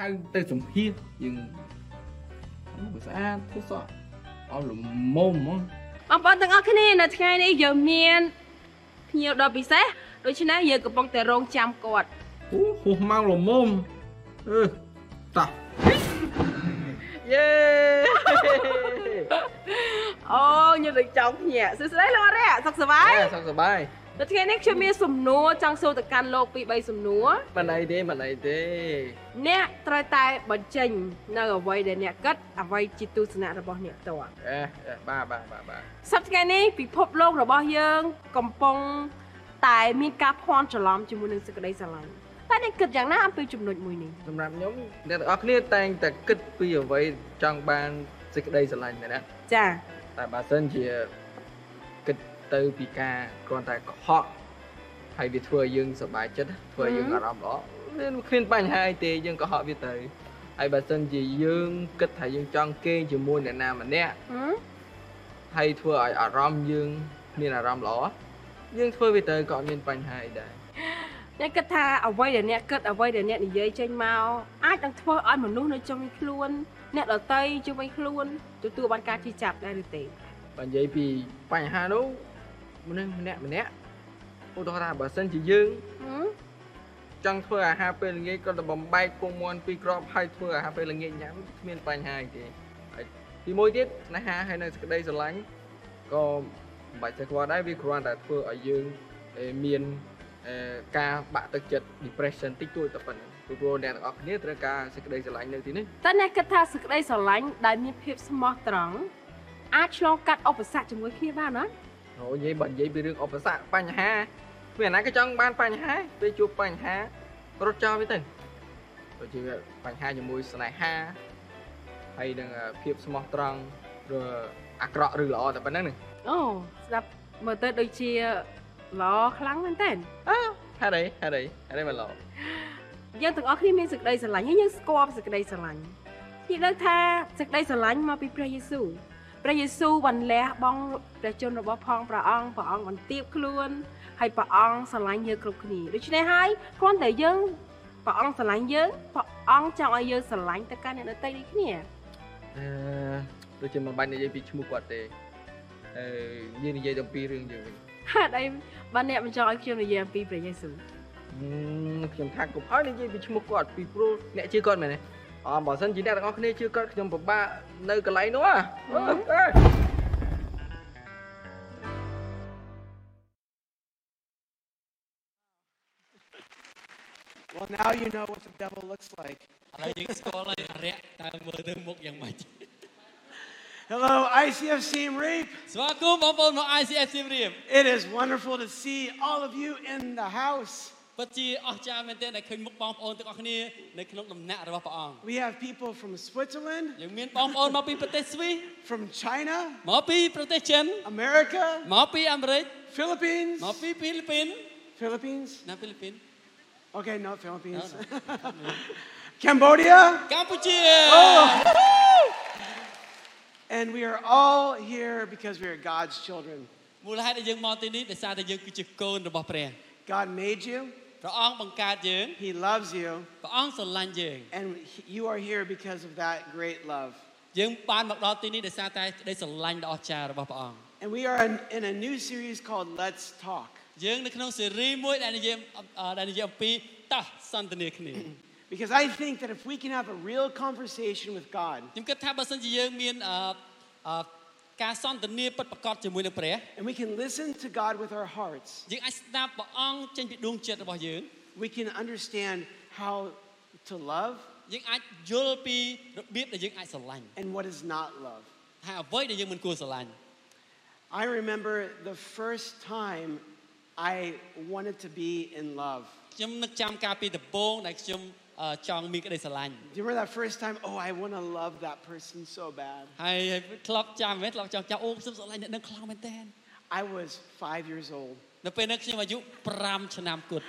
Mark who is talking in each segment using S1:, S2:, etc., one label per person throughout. S1: ហៅទៅសម្ភាសយើងមកស្អាតធ្វើសក់អស់ល្មមហ្មង
S2: បងប្អូនទាំងអស់គ្នានៅថ្ងៃនេះយើងមានភ្ញៀវដ៏ពិសេសដូច្នេះយើងកំពុងតែរងចាំគាត់
S1: អូហោះមកល្មមអឺតោះ
S2: យេអូខ្ញុំនឹងចង់ភ្ញាក់សួស្ដីលោករ៉ែសុខសប្បាយ
S1: សុខសប្បាយ
S2: នៅថ្ងៃនេះខ្ញុំមានសំណួរចង់សួរទៅកាន់លោកពីរបីសំណួរ
S1: មិនអីទេមិនអីទេ
S2: អ្នកត្រូវតែបញ្ចេញនៅអ្វីដែលអ្នកគិតអ្វីជាទស្សនៈរបស់អ្នកផ្ទាល់
S1: អេអេបាទបាទបាទបាទ
S2: សប្តាហ៍នេះពិភពលោករបស់យើងកំពុងតែមានការភ័ន្តច្រឡំជាមួយនឹងសេចក្តីស្រឡាញ់តែអ្នកគិតយ៉ាងណាអំពីចំណុចមួយនេះ
S1: សម្រាប់ខ្ញុំអ្នកទាំងអស់គ្នាតែងតែគិតពីអ្វីចង់បានសេចក្តីស្រឡាញ់មែនទេ
S2: ចា
S1: តែបើសិនជាគិតទៅពីការគ្រាន់តែកុហកហើយវាធ្វើឲ្យយើងសប្បាយចិត្តធ្វើឲ្យយើងអារម្មណ៍ល្អវាមិនគ្មានបញ្ហាអីទេយើងកុហកវាទៅហើយបើសិនជាយើងគិតថាយើងចង់គេងជាមួយអ្នកណាម្នាក់
S2: ហឹម
S1: ហើយធ្វើឲ្យអារម្មណ៍យើងមានអារម្មណ៍ល្អយើងធ្វើវាទៅក៏អត់មានបញ្ហាអីដែរ
S2: អ្នកគិតថាអ្វីដែលអ្នកគិតអ្វីដែលអ្នកនិយាយចេញមកអាចនឹងធ្វើឲ្យមនុស្សនៅជុំវិញខ្លួន អ្នកដតីជុំវិញខ្លួនទទួលបានការជិះចាប់ដែរឬទេ
S1: បើនិយាយពីបញ្ហានោះមនុស្សម្នាក់ម្នាក់ឧទាហរណ៍ថាបើសិនជាយើង
S2: ហឹម
S1: ចង់ធ្វើអាហារពេលល្ងាចគាត់ទៅបំបែកពងមាន់ពីរគ្រាប់ហើយធ្វើអាហារពេលល្ងាចញ៉ាំគ្មានបញ្ហាអីទេហើយទីមួយទៀតស្នេហាហើយនៅសេចក្តីស្រឡាញ់ក៏មិនបាច់ទៅខ្វល់ដែរវាគ្រាន់តែធ្វើឲ្យយើងអេមានអេការបាក់ទឹកចិត្ត depression តិចតួចតែប៉ុណ្្នឹងព្រោះព្រោះអ្នកទាំងអស់គ្នាត្រូវការសេចក្តីស្រឡាញ់នៅទីនេះ
S2: តែអ្នកគិតថាសេចក្តីស្រឡាញ់ដែលមានភាពស្មោះត្រង់អាចឆ្លងកាត់ឧបសគ្គជាមួយគ្នាបានណា
S1: អូនិយាយបើនិយាយពីរឿងឧបសគ្គបញ្ហាគ្មានអ្នកណាក៏ចង់បានបញ្ហាពេលជួបបញ្ហារត់ចោលវាទៅ ដូចជាបញ្ហាជាមួយស្នេហាហើយនឹងអ่าភាពស្មោះត្រង់ឬអាក្រក់ឬល្អតែប៉ុណ្្នឹងហ្នឹង
S2: អូស្ដាប់មើលទៅដូចជាល្អខ្លាំងមែនតើ
S1: ហេតុអីហេតុអីហេតុអីមិនល្អ
S2: យើងទាំងអស់គ្នាមានសេចក្តីស្រឡាញ់ហើយយើងស្គាល់សេចក្តីស្រឡាញ់និយាយថាសេចក្តីស្រឡាញ់មកពីព្រះយេស៊ូវព្រះយេស៊ូវបានលះបង់ព្រះជន្មរបស់ផងព្រះអង្គព្រះអង្គបានទាបខ្លួនហើយព្រះអង្គស្រឡាញ់យើងគ្រប់គ្នាដូច្នេះហើយគ្រាន់តែយើងព្រះអង្គស្រឡាញ់យើងព្រះអង្គចង់ឲ្យយើងស្រឡាញ់ទៅកាន់អ្នកដទៃដូចគ្នា
S1: អឺដូចជាមិនបាច់និយាយពីឈ្មោះគាត់ទេអឺយើងនិយាយអំពីរឿងយើងវិញ
S2: ហេតុអីបានអ្នកមិនចង់ឲ្យខ្ញុំនិយាយអំពីព្រះយេស៊ូវ
S1: ហឹមខ្ញុំថាកុំអោយនិយាយពីឈ្មោះគាត់ពីព្រោះអ្នកជឿគាត់មែនទេអមបើសិនជាអ្នកទាំងអស់គ្នាជឿគាត់ខ្ញុំពិបាកនៅកន្លែងនោះហ៎អឺ
S3: Well, now you know what the devil looks like.
S4: ឥឡូវយើងស្គាល់ហើយអារក្សតើមើលទៅមុខយ៉ាងម៉េច
S3: Hello, ICF Team Reap.
S4: ស្វាគមន៍បងប្អូនមក ICF សៀមរាប
S3: It is wonderful to see all of you in the house.
S4: ពិតជាអស្ចារ្យមែនទែនដែលឃើញមុខបងប្អូនទាំងអស់គ្នានៅក្នុងដំណាក់របស់ព្រះអង្គ
S3: We have people from Switzerland,
S4: យើងមានបងប្អូនមកពីប្រទេសស្វីស
S3: from China,
S4: មកពីប្រទេសចិន
S3: America,
S4: មកពីអាមេរិក
S3: Philippines.
S4: មកពីហ្វីលីពីន
S3: Philippines?
S4: ណាហ្វីលីពីន
S3: Okay, not Philippines.
S4: No,
S3: Cambodia.
S4: កម្ពុជា Oh!
S3: And we are all here because we are God's children.
S4: មូលហេតុដែលយើងមកទីនេះដោយសារតែយើងគឺជាកូនរបស់ព្រះ
S3: God made you,
S4: ព្រះអង្គបង្កើតយើង
S3: He loves you,
S4: ព្រះអង្គស្រឡាញ់យើង
S3: and he- you are here because of that great love.
S4: យើងបានមកដល់ទីនេះដោយសារតែក្តីស្រឡាញ់ដ៏អស្ចារ្យរបស់ព្រះអង្គ
S3: And we are in, in a new series called Let's Talk.
S4: យើងនៅក្នុងស៊េរីមួយដែលនិយាយអំអដែលនិយាយអំពីតោះសន្ទនាគ្នា
S3: Because I think that if we can have a real conversation with God
S4: ខ្ញុំគិតថាបើសិនជាយើងមានអអការសន្ទនាពិតប្រាកដជាមួយនឹងព្រះ
S3: and we can listen to God with our hearts,
S4: យើងអាចស្ដាប់ព្រះអង្គចេញពីដួងចិត្តរបស់យើង
S3: we can understand how to love
S4: យើងអាចយល់ពីរបៀបដែលយើងអាចស្រឡាញ់
S3: and what is not love.
S4: ថាអ្វីដែលយើងមិនគួរស្រឡាញ់
S3: I remember the first time I wanted to be in love.
S4: ខ្ញុំនឹកចាំការពីដំបូងដែលខ្ញុំអចង់មានក្តីស្រឡាញ់
S3: Do you remember that first time? Oh, I want to love that person so bad.
S4: ហើយហើយធ្លាប់ចាំហ៎ធ្លាប់ចង់ចាំអូខ្ញុំស្រឡាញ់អ្នកនឹងខ្លាំងមែនតើ
S3: I was five years old.
S4: នៅពេលនោះខ្ញុំអាយុ5ឆ្នាំគត់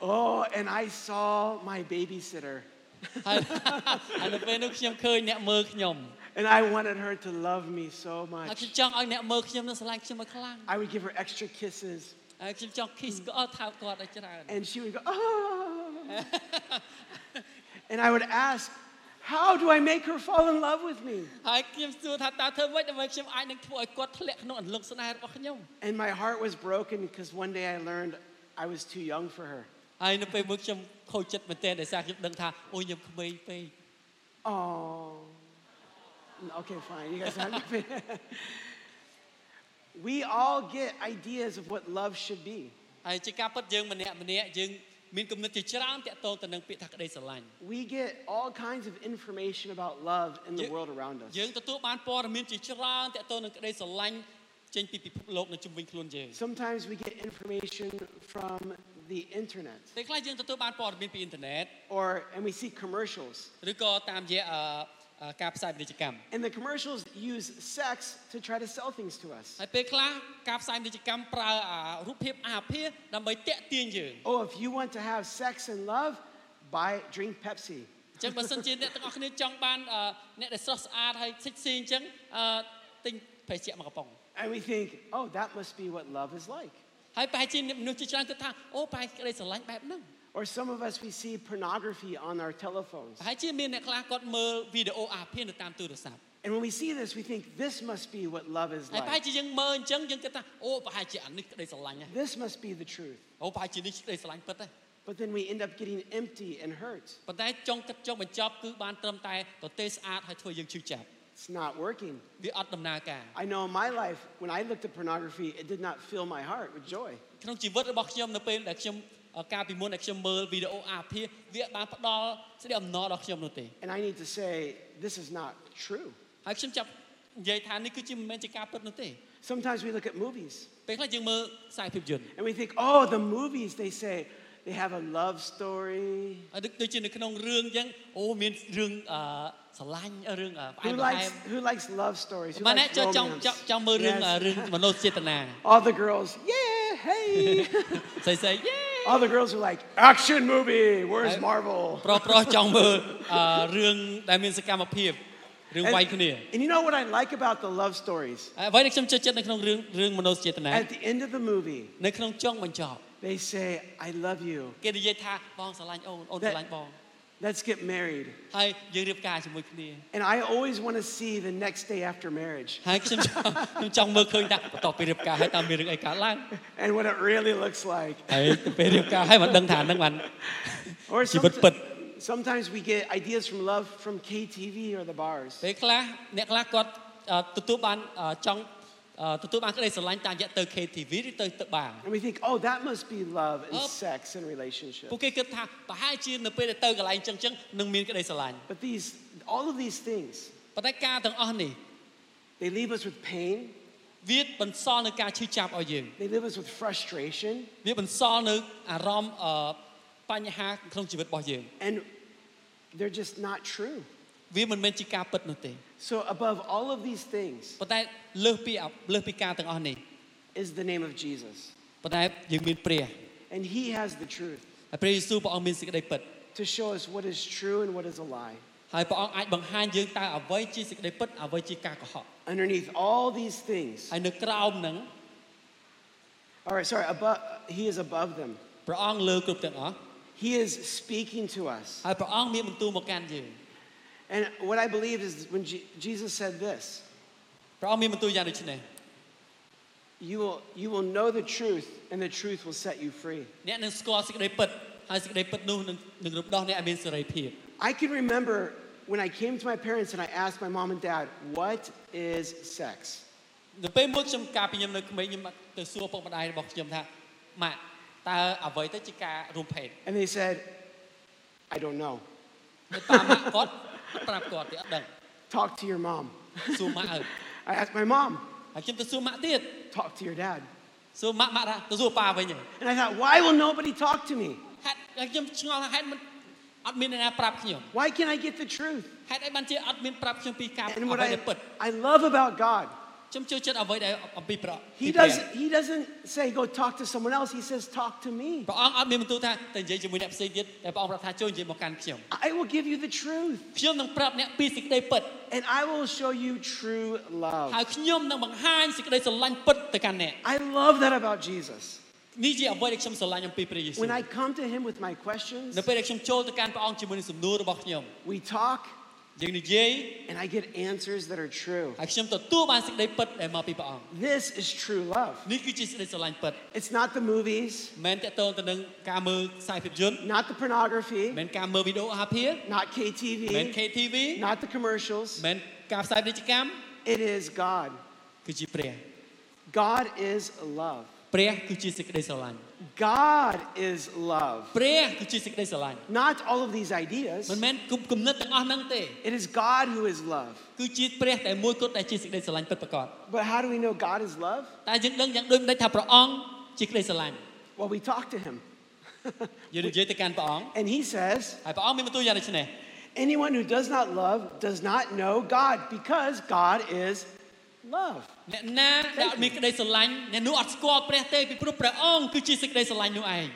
S3: Oh, and I saw my babysitter
S4: ហើយ ហើយនៅពេលនោះខ្ញុំឃើញអ្នកមើលខ្ញុំ
S3: and I wanted her to love me so
S4: ហើយខ្ញុំ
S3: much.
S4: ចង់ឲ្យអ្នកមើលខ្ញុំនឹងស្រឡាញ់ខ្ញុំមកខ្លាំង
S3: I would give her extra kisses
S4: ហើយខ្ញុំចង់ kiss គាត់ថើបគាត់ឲ្យច្រើន
S3: and she would go, oh. And I would ask, How do I make her fall in love with me?
S4: ហើយខ្ញុំសួរថាតើធ្វើម៉េចដើម្បីខ្ញុំអាចនឹងធ្វើឲ្យគាត់ធ្លាក់ក្នុងអន្លង់ស្នេហ៍របស់ខ្ញុំ
S3: And my heart was broken because one day I learned I was too young for her.
S4: ហើយនៅពេលមួយខ្ញុំខូចចិត្តមែនទែនដោយសារខ្ញុំដឹងថាអូខ្ញុំក្មេងពេក
S3: Oh. Okay, fine. You guys have nothing. We all get ideas of what love should be.
S4: ហើយជាការពិតយើងម្នាក់ម្នាក់យើងមានគំនិតជាច្រើនតាក់ទងទៅនឹងពាក្យថាក្តីស្រឡាញ់
S3: We get all kinds of information about love in the
S4: Ye-
S3: world around us.
S4: យើងទទួលបានព័ត៌មានជាច្រើនតាក់ទងនឹងក្តីស្រឡាញ់ចេញពីពិភពលោកនៅជុំវិញខ្លួនយើង
S3: Sometimes we get information from the internet
S4: ពេលខ្លះយើងទទួលបានព័ត៌មានពីអ៊ីនធឺណិត
S3: or and we see commercials.
S4: ឬក៏តាមរយៈអអការផ្សាយពាណិជ្ជកម្ម
S3: And the commercials use sex to try to sell things to us.
S4: ហើយពេលខ្លះការផ្សាយពាណិជ្ជកម្មប្រើអារូបភាពអាភាសដើម្បីតាក់ទាញយើង
S3: Oh, if you want to have sex and love, buy drink Pepsi.
S4: អញ្ចឹងបើសិនជាអ្នកទាំងអស់គ្នាចង់បានអអ្នកដែលស្រស់ស្អាតហើយសិចស៊ីអញ្ចឹងអទិញភេសជ្ជៈមួយកកំប៉ុង
S3: And we think, "Oh, that must be what love is like."
S4: ហើយប្រហែលជាមនុស្សជាច្រើនគិតថាអូប្រហែលក្តីស្រឡាញ់បែបហ្នឹង
S3: Or some of us we see pornography on our telephones.
S4: ប្រហែលជាមានអ្នកខ្លះគាត់មើលវីដេអូអាភាសនៅតាមទូរស័ព្ទ
S3: And when we see this, we think this must be what love is
S4: ហើយប្រហែល
S3: like.
S4: ជាយើងមើលអញ្ចឹងយើងគិតថាអូប្រហែលជាអានេះក្តីស្រឡាញ់ហ៎
S3: This must be the truth.
S4: អូប្រហែលជានេះក្តីស្រឡាញ់ពិតហ៎
S3: But then we end up getting empty and hurt.
S4: ប៉ុន្តែចុងគិតចុងបញ្ចប់គឺបានត្រឹមតែប្រទេសស្អាតហើយធ្វើយើងឈឺចាប់
S3: It's not working.
S4: វាអត់ដំណើរការ
S3: I know in my life, when I looked at pornography, it did not fill my heart with joy.
S4: ក្នុងជីវិតរបស់ខ្ញុំនៅពេលដែលខ្ញុំអកាលពីមុនដែលខ្ញុំមើលវីដេអូអាភាសវាបានផ្ដល់ស្ដីអំណរដល់ខ្ញុំនោះទេ
S3: And I need to say, this is not true.
S4: ហើយខ្ញុំចាប់និយាយថានេះគឺជាមិនមែនជាការពិតនោះទេ
S3: Sometimes we look at movies
S4: ពេលខ្លះយើងមើលខ្សែភាពយន្ត
S3: and we think, oh, the movies, they say they have a love story.
S4: ហើយដូចដូចជានៅក្នុងរឿងអញ្ចឹងអូមានរឿងអឺស្រឡាញ់រឿងអឺផ្អែ
S3: Who
S4: មផ្អែ
S3: likes,
S4: ម
S3: who likes love stories? Who
S4: បានអ្នក
S3: likes
S4: ចង់ចង់
S3: romance?
S4: ចង់ចង់មើលរឿងអឺ
S3: Yes.
S4: រឿងមនោចេតនា
S3: All the girls, yeah, hey.
S4: ស្អីស្អីយេ
S3: All the girls are like, action movie, where's
S4: I-
S3: Marvel?
S4: ប្រុសប្រុសចង់មើលអឺរឿងដែលមានសកម្មភាពរឿងវាយគ្នា
S3: and you know what I like about the love stories?
S4: ហើយអ្វីដែលខ្ញុំចូលចិត្តនៅក្នុងរឿងរឿងមនោចេតនា
S3: At the end of the movie,
S4: នៅក្នុងចុងបញ្ចប់
S3: they say, I love you.
S4: គេនិយាយថាបងស្រឡាញ់អូនអូន
S3: That-
S4: ស្រឡាញ់បង
S3: Let's get married.
S4: ហើយយើងរៀបការជាមួយគ្នា
S3: And I always want to see the next day after marriage
S4: ហើយខ្ញុំចង់ ខ្ញុំចង់មើលឃើញថាបន្ទាប់ពីរៀបការហើយតើមានរឿងអីកើតឡើង
S3: and what it really looks like.
S4: ហើយទៅពេលរៀបការហើយមិនដឹងថាហ្នឹងបាន
S3: Or
S4: Sí,
S3: somet-
S4: but-
S3: sometimes we get ideas from love from KTV or the bars.
S4: ពេលខ្លះអ្នកខ្លះគាត់អឺទទួលបានអឺចង់អឺទទួលបានក្តីស្រឡាញ់តាមរយៈទៅ KTV ឬទៅទៅបារ
S3: And we think, oh, that must be love and
S4: Up.
S3: sex and
S4: ពួក
S3: relationship.
S4: គេគិតថាប្រហែលជានៅពេលដែលទៅកន្លែងចឹងចឹងនឹងមានក្តីស្រឡាញ់
S3: But these, all of these things,
S4: ប៉ុន្តែការទាំងអស់នេះ
S3: they leave us with pain.
S4: វាបន្សល់នៅការឈឺចាប់ឲ្យយើង
S3: They leave us with frustration.
S4: វាបន្សល់នៅអារម្មណ៍អឺបញ្ហាក្នុងជីវិតរបស់យើង
S3: And they're just not true.
S4: វាមិនមែនជាការពិតនោះទេ
S3: So above all of these things
S4: ប៉ុន្តែលើសពីលើសពីការទាំងអស់នេះ
S3: is the name of Jesus.
S4: ប៉ុន្តែយើងមានព្រះ
S3: And he has the truth
S4: ហើយព្រះយេស៊ូវព្រះអង្គមានសេចក្តីពិត
S3: to show us what is true and what is a lie.
S4: ហើយព្រះអង្គអាចបង្ហាញយើងតើអ្វីជាសេចក្តីពិតអ្វីជាការកុហក
S3: Underneath all these things,
S4: ហើយនៅក្រោមហ្នឹង
S3: all right, sorry, above, he is above them.
S4: ព្រះអង្គលើគ្រប់ទាំងអស់
S3: He is speaking to us.
S4: ហើយព្រះអង្គមានបន្ទូលមកកាន់យើង
S3: And what I believe is when Je- Jesus said this,
S4: ព្រះអង្គមានបន្ទូលយ៉ាងដូចនេះ
S3: you will, you will know the truth, and the truth will set you free.
S4: អ្នកនឹងស្គាល់សេចក្តីពិតហើយសេចក្តីពិតនោះនឹងនឹងរំដោះអ្នកឲ្យមានសេរីភាព
S3: I can remember when I came to my parents and I asked my mom and dad, What is sex?
S4: នៅពេលមួយខ្ញុំកាលពីខ្ញុំនៅក្មេងខ្ញុំទៅសួរឪពុកម្ដាយរបស់ខ្ញុំថាម៉ាក់តើអ្វីទៅជាការរួមភេទ
S3: And they said, I don't know.
S4: ហើយប៉ាម៉ាក់គាត់ ប្រាប់គាត់ទៀតអត់ដឹង
S3: Talk to your mom.
S4: សួរម៉ាក់អើ
S3: I asked my mom,
S4: ហើយខ្ញុំទៅសួរម៉ាក់ទៀត
S3: Talk to your dad.
S4: សួរម៉ាក់ម៉ាក់ថាទៅសួរប៉ាវិញហ៎
S3: And I thought, Why will nobody talk to me?
S4: ហេតុហើយខ្ញុំឆ្ងល់ថាហេតុមិនអត់មានអ្នកណាប្រាប់ខ្ញុំ
S3: Why can't I get the truth?
S4: ហេតុអីបានជាអត់មានប្រាប់ខ្ញុំពីការអ្
S3: And what
S4: វី
S3: I,
S4: ដែលពិត
S3: I love about God,
S4: ខ្ញុំចូលចិត្តអ្វីដែលអំពីព្រះពី
S3: he
S4: ព្រះ
S3: doesn't, he doesn't say, Go talk to someone else. He says, Talk to me.
S4: ព្រះអង្គអត់មានបន្ទូលថាតែនិយាយជាមួយអ្នកផ្សេងទៀតតែព្រះអង្គប្រាប់ថាចូលនិយាយមកកាន់ខ្ញុំ
S3: I will give you the truth.
S4: ខ្ញុំនឹងប្រាប់អ្នកពីសេចក្តីពិត
S3: And I will show you true
S4: ហើ
S3: love.
S4: យខ្ញុំនឹងបង្ហាញសេចក្តីស្រឡាញ់ពិតទៅកាន់អ្នក
S3: I love that about Jesus.
S4: នេះជាអ្វីដែលខ្ញុំស្រឡាញ់អំពីព្រះយេស៊ូវ
S3: When I come to him with my questions,
S4: នៅពេលដែលខ្ញុំចូលទៅកាន់ព្រះអង្គជាមួយនឹងសំណួររបស់ខ្ញុំ
S3: we talk,
S4: យើងនិយាយ
S3: and I get answers that are true.
S4: ហើយខ្ញុំទទួលបានសេចក្តីពិតដែលមកពីព្រះអង្គ
S3: This is true love.
S4: នេះគឺជាសេចក្តីស្រឡាញ់ពិត
S3: It's not the movies,
S4: មិនតកតងទៅនឹងការមើលខ្សែភាពយន្ត
S3: not the pornography,
S4: មិនការមើលវីដេអូអាហារភារ
S3: not
S4: មិន
S3: KTV,
S4: KTV
S3: not the commercials.
S4: មិនការផ្សាយពាណិជ្ជកម្ម
S3: It is God.
S4: គឺជាព្រះ
S3: God is love.
S4: ព្រះគឺជាសេចក្តីស្រឡាញ់
S3: God is love.
S4: ព្រះគឺជាសេចក្តីស្រឡាញ់
S3: Not all of these
S4: មិន
S3: ideas.
S4: មែនគុំគំនិតទាំងអស់ហ្នឹងទេ
S3: It is God who is love.
S4: គឺជាព្រះតែមួយគត់ដែលជាសេចក្តីស្រឡាញ់ពិតប្រាកដ
S3: But how do we know God is love?
S4: តែយើងដឹងយ៉ាងដូចម្តេចថាព្រះអង្គជាក្តីស្រឡាញ់
S3: Well, we talk to him.
S4: យើងនិយាយទៅកាន់ព្រះអង្គ
S3: And he says,
S4: ហើយព្រះអង្គមានបន្ទូលយ៉ាងដូចនេះ
S3: anyone who does not love does not know God because God is love.
S4: អ្នកណាដែលអត់មានក្តីស្រឡាញ់អ្នកនោះអត់ស្គាល់ព្រះទេពីព្រោះព្រះអង្គគឺជាសេចក្តីស្រឡាញ់នោះឯង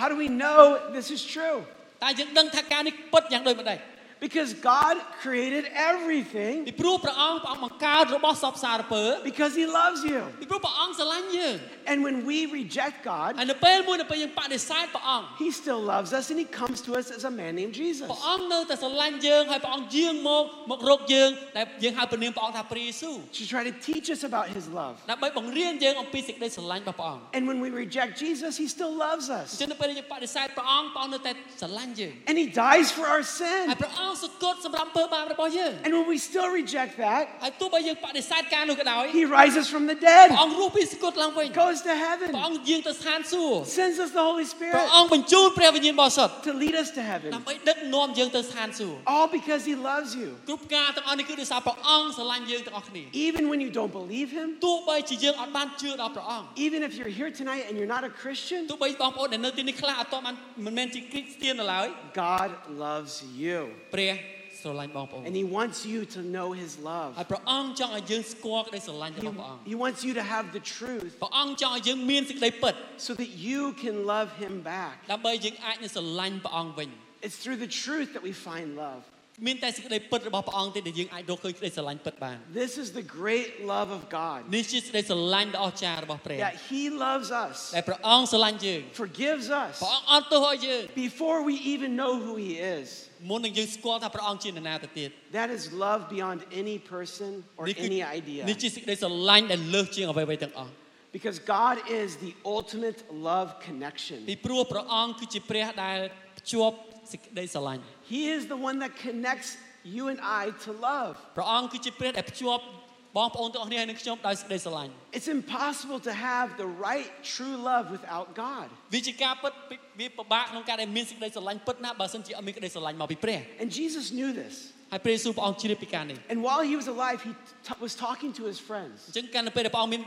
S3: How do we know this is true?
S4: តែយើងដឹងថាការនេះពិតយ៉ាងដូចម្តេច
S3: Because God created
S4: ពី
S3: everything
S4: ព្រោះព្រះអង្គព្រះអង្គបង្កើតរបស់សពវសារពើ
S3: because he loves you.
S4: ពីព្រោះព្រះអង្គស្រឡាញ់យើង
S3: And when we reject God,
S4: ហើយនៅពេលមួយនៅពេលយើងបដិសេធព្រះអង្គ
S3: he still loves us and he comes to us as a man named Jesus.
S4: ព្រះអង្គនៅតែស្រឡាញ់យើងហើយព្រះអង្គយាងមកមករកយើងដែលយើងហៅព្រះនាមព្រះអង្គថាព្រះយេស៊ូវ
S3: To try to teach us about his love.
S4: ដើម្បីបង្រៀនយើងអំពីសេចក្តីស្រឡាញ់របស់ព្រះអង្គ
S3: And when we reject Jesus, he still loves
S4: អ
S3: us.
S4: ញ្ចឹងនៅពេលដែលយើងបដិសេធព្រះអង្គព្រះអង្គនៅតែស្រឡាញ់យើង
S3: And he dies for our
S4: ហើ
S3: sin.
S4: យព្រះអង្គសុគតសម្រាប់អំពើបាបរបស់យើង
S3: And when we still reject that,
S4: ហើយទោះបីយើងបដិសេធការនោះក៏ដោយ
S3: he rises from the dead,
S4: ព្រះអង្គរស់ពីសគត់ឡើងវិញព្រះ
S3: goes to heaven,
S4: អង្គយាងទៅស្ថានសួគ៌
S3: sends us the Holy
S4: ព្រះ
S3: Spirit
S4: អង្គបញ្ជូនព្រះវិញ្ញាណបរិសុទ្ធ
S3: to lead us to heaven.
S4: ដើម្បីដឹកនាំយើងទៅស្ថានសួគ៌
S3: All because he loves you.
S4: គ្រប់ការទាំងអស់នេះគឺដោយសារព្រះអង្គស្រឡាញ់យើងទាំងអស់គ្នា
S3: Even when you don't believe him,
S4: ទោះបីជាយើងអត់បានជឿដល់ព្រះអង្គ
S3: even if you're here tonight and you're not a Christian,
S4: ទោះបីបងប្អូនដែលនៅទីនេះខ្លះអត់ទាន់បានមិនមែនជាគ្រីស្ទាននៅឡើយ
S3: God loves you.
S4: ព្រះស្រឡាញ់បងប្អូន
S3: And he wants you to know his love.
S4: ហើយព្រះអង្គចង់ឲ្យយើងស្គាល់ក្តីស្រឡាញ់
S3: He,
S4: របស់ព្រះអង្គ
S3: he wants you to have the truth
S4: ព្រះអង្គចង់ឲ្យយើងមានសេចក្តីពិត
S3: so that you can love him back.
S4: ដើម្បីយើងអាចនឹងស្រឡាញ់ព្រះអង្គវិញ
S3: It's through the truth that we find love.
S4: មានតែសេចក្តីពិតរបស់ព្រះអង្គទេដែលយើងអាចរកឃើញក្តីស្រឡាញ់ពិតបាន
S3: This is the great love of God
S4: នេះជាសេចក្តីស្រឡាញ់ដ៏អស្ចារ្យរបស់ព្រះ
S3: that he loves us,
S4: ដែលព្រះអង្គស្រឡាញ់យើង
S3: forgives us
S4: ព្រះអង្គអត់ទោសឲ្យយើង
S3: before we even know who he is.
S4: មុននឹងយើងស្គាល់ថាព្រះអង្គជានរណាទៅទៀត
S3: That is love beyond any person or
S4: នេះគឺ
S3: any idea.
S4: នេះជាសេចក្តីស្រឡាញ់ដែលលើសជាងអ្វីៗទាំងអស់
S3: Because God is the ultimate love connection.
S4: ពីព្រោះព្រះអង្គគឺជាព្រះដែលភ្ជាប់សេចក្តីស្រឡាញ់
S3: He is the one that connects you and I to love.
S4: ព្រះអង្គគឺជាព្រះដែលភ្ជាប់បងប្អូនទាំងអស់គ្នាហើយនឹងខ្ញុំដោយសេចក្តីស្រឡាញ់
S3: It's impossible to have the right true love without God.
S4: វាជាការពិតពិតវាពិបាកក្នុងការដែលមានសេចក្តីស្រឡាញ់ពិតណាស់បើមិនជាអត់មានក្តីស្រឡាញ់មកពីព្រះ
S3: And Jesus knew this.
S4: ហើយព្រះយេស៊ូវព្រះអង្គជ្រាបពីការនេះ
S3: And while he was alive, he t- was talking to his
S4: អ
S3: friends.
S4: ញ្ចឹងកាលនៅពេលដែលព្រះអង្គមាន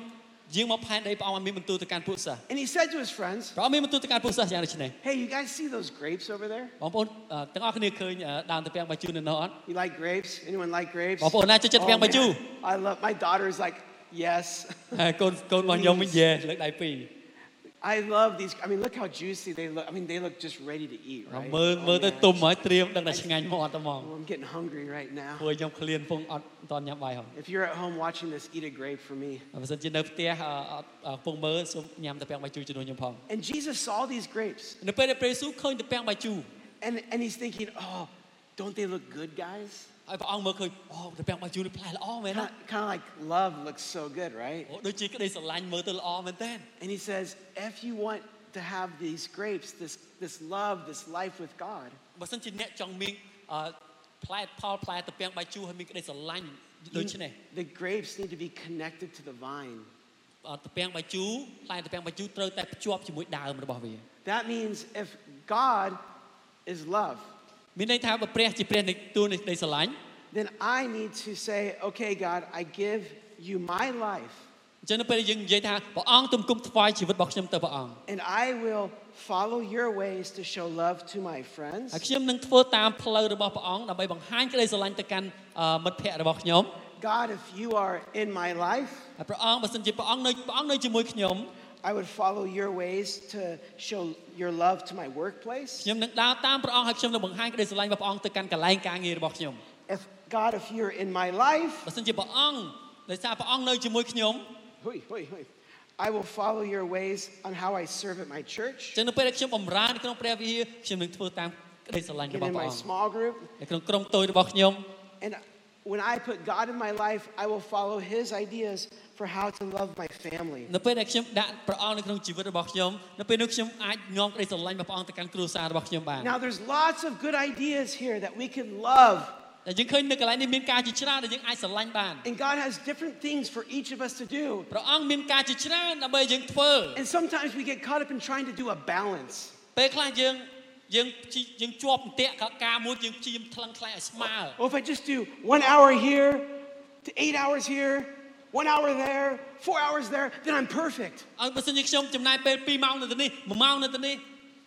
S4: យាងមកផែនដីព្រះអង្គមានបន្ទូលទៅកាន់ពួកសិស្ស
S3: And he said to his friends,
S4: ព្រះអង្គមានបន្ទូលទៅកាន់ពួកសិស្សយ៉ាងដូចនេះ
S3: Hey, you guys see those grapes over there?
S4: បងប្អូនអឺទាំងអស់គ្នាឃើញអឺដើមត្រពាំងបាយជូរនៅនោះអត់
S3: You like grapes? Anyone like grapes? Oh,
S4: បងប្អូនណាចូលចិត្តត្រពាំងបាយជូរ
S3: man. I love my daughter's like, yes.
S4: ហើយកូនកូនរបស់ខ្ញុំវិញយេលើកដៃពីរ
S3: I love these. I mean, look how juicy they look. I mean, they look just ready to eat,
S4: ដល់
S3: right?
S4: មើល
S3: Oh,
S4: មើលទៅ
S3: man.
S4: ទុំហើយត្រៀមដឹងតែឆ្ងាញ់មកអត់ហ្មង
S3: Well, I'm getting hungry right now.
S4: ព្រោះខ្ញុំឃ្លានពងអត់មិនតាន់ញ៉ាំបាយហោះ
S3: If you're at home watching this, eat a grape for me.
S4: បើសិនជានៅផ្ទះអឺអត់អឺពងមើលសូមញ៉ាំត្រពាំងបាយជូរជំនួសខ្ញុំផង
S3: And Jesus saw these grapes
S4: នៅពេលដែលព្រះយេស៊ូវឃើញត្រពាំងបាយជូរ
S3: and, and he's thinking, oh, don't they look good, guys?
S4: ហើយព្រះអង្គមើលឃើញអូត្រពាំងបាយជូរនេះផ្លែល្អមែនណា
S3: Kind of like love looks so good, right?
S4: អូដូចជាក្តីស្រឡាញ់មើលទៅល្អមែនតើ
S3: And he says, if you want to have these grapes, this, this love, this life with God,
S4: បើសិនជាអ្នកចង់មានអឺផ្លែផលផ្លែត្រពាំងបាយជូរហើយមានក្តីស្រឡាញ់ដូ
S3: you-
S4: ច្នេះ
S3: the grapes need to be connected to the vine.
S4: អឺត្រពាំងបាយជូរផ្លែត្រពាំងបាយជូរត្រូវតែភ្ជាប់ជាមួយដើមរបស់វា
S3: That means if God is love,
S4: មានន័យថាបើព្រះជាព្រះនៃទូលនៃក្តីស្រឡាញ់
S3: then I need to say, okay, God, I give you my life
S4: អញ្ចឹងនៅពេលដែលយើងនិយាយថាព្រះអង្គទំគុំថ្វាយជីវិតរបស់ខ្ញុំទៅព្រះអង្គ
S3: and I will follow your ways to show love to my
S4: ហើយ
S3: friends.
S4: ខ្ញុំនឹងធ្វើតាមផ្លូវរបស់ព្រះអង្គដើម្បីបង្ហាញក្តីស្រឡាញ់ទៅកាន់អឺមិត្តភ័ក្តិរបស់ខ្ញុំ
S3: God, if you are in my life,
S4: ហើយព្រះអង្គបើសិនជាព្រះអង្គនៅព្រះអង្គនៅជាមួយខ្ញុំ
S3: I would follow your ways to show your love to my workplace.
S4: ខ្ញុំនឹងដើរតាមព្រះអង្គហើយខ្ញុំនឹងបង្ហាញក្តីស្រឡាញ់របស់ព្រះអង្គទៅកាន់កន្លែងការងាររបស់ខ្ញុំ
S3: If God, if you're in my life,
S4: បើសិនជាព្រះអង្គដោយសារព្រះអង្គនៅជាមួយខ្ញុំ
S3: Hoi, hoi, hoi. I will follow your ways on how I serve at my church,
S4: ចឹងនៅពេលដែលខ្ញុំបម្រើនៅក្នុងព្រះវិហារខ្ញុំនឹងធ្វើតាមក្តីស្រឡាញ់រ
S3: and
S4: បស់
S3: in
S4: ព្រះ
S3: my
S4: អង្គ
S3: small group.
S4: នៅក្នុងក្រុមតូចរបស់ខ្ញុំ
S3: And when I put God in my life, I will follow his ideas for how to love my family.
S4: នៅពេលដែលខ្ញុំដាក់ព្រះអង្គនៅក្នុងជីវិតរបស់ខ្ញុំនៅពេលនោះខ្ញុំអាចនាំក្តីស្រឡាញ់របស់ព្រះអង្គទៅកាន់គ្រួសាររបស់ខ្ញុំបាន
S3: Now, there's lots of good ideas here that we can love.
S4: តែយើងឃើញនៅកន្លែងនេះមានការជាច្រើនដែលយើងអាចស្រឡាញ់បាន
S3: And God has different things for each of us to do.
S4: ព្រះអង្គមានការជាច្រើនដើម្បីយើងធ្វើ
S3: And sometimes we get caught up in trying to do a balance.
S4: ពេលខ្លះយើងយើងព្យាយើងជាប់អន្ទាក់ការមួយយើងព្យាយាមថ្លឹងថ្លែងឲ្យស្មើ
S3: Well, if I just do one hour here to eight hours here, one hour there, four hours there, then I'm perfect.
S4: ឲ្យបើសិនជាខ្ញុំចំណាយពេល2ម៉ោងនៅទីនេះ1ម៉ោងនៅទីនេះ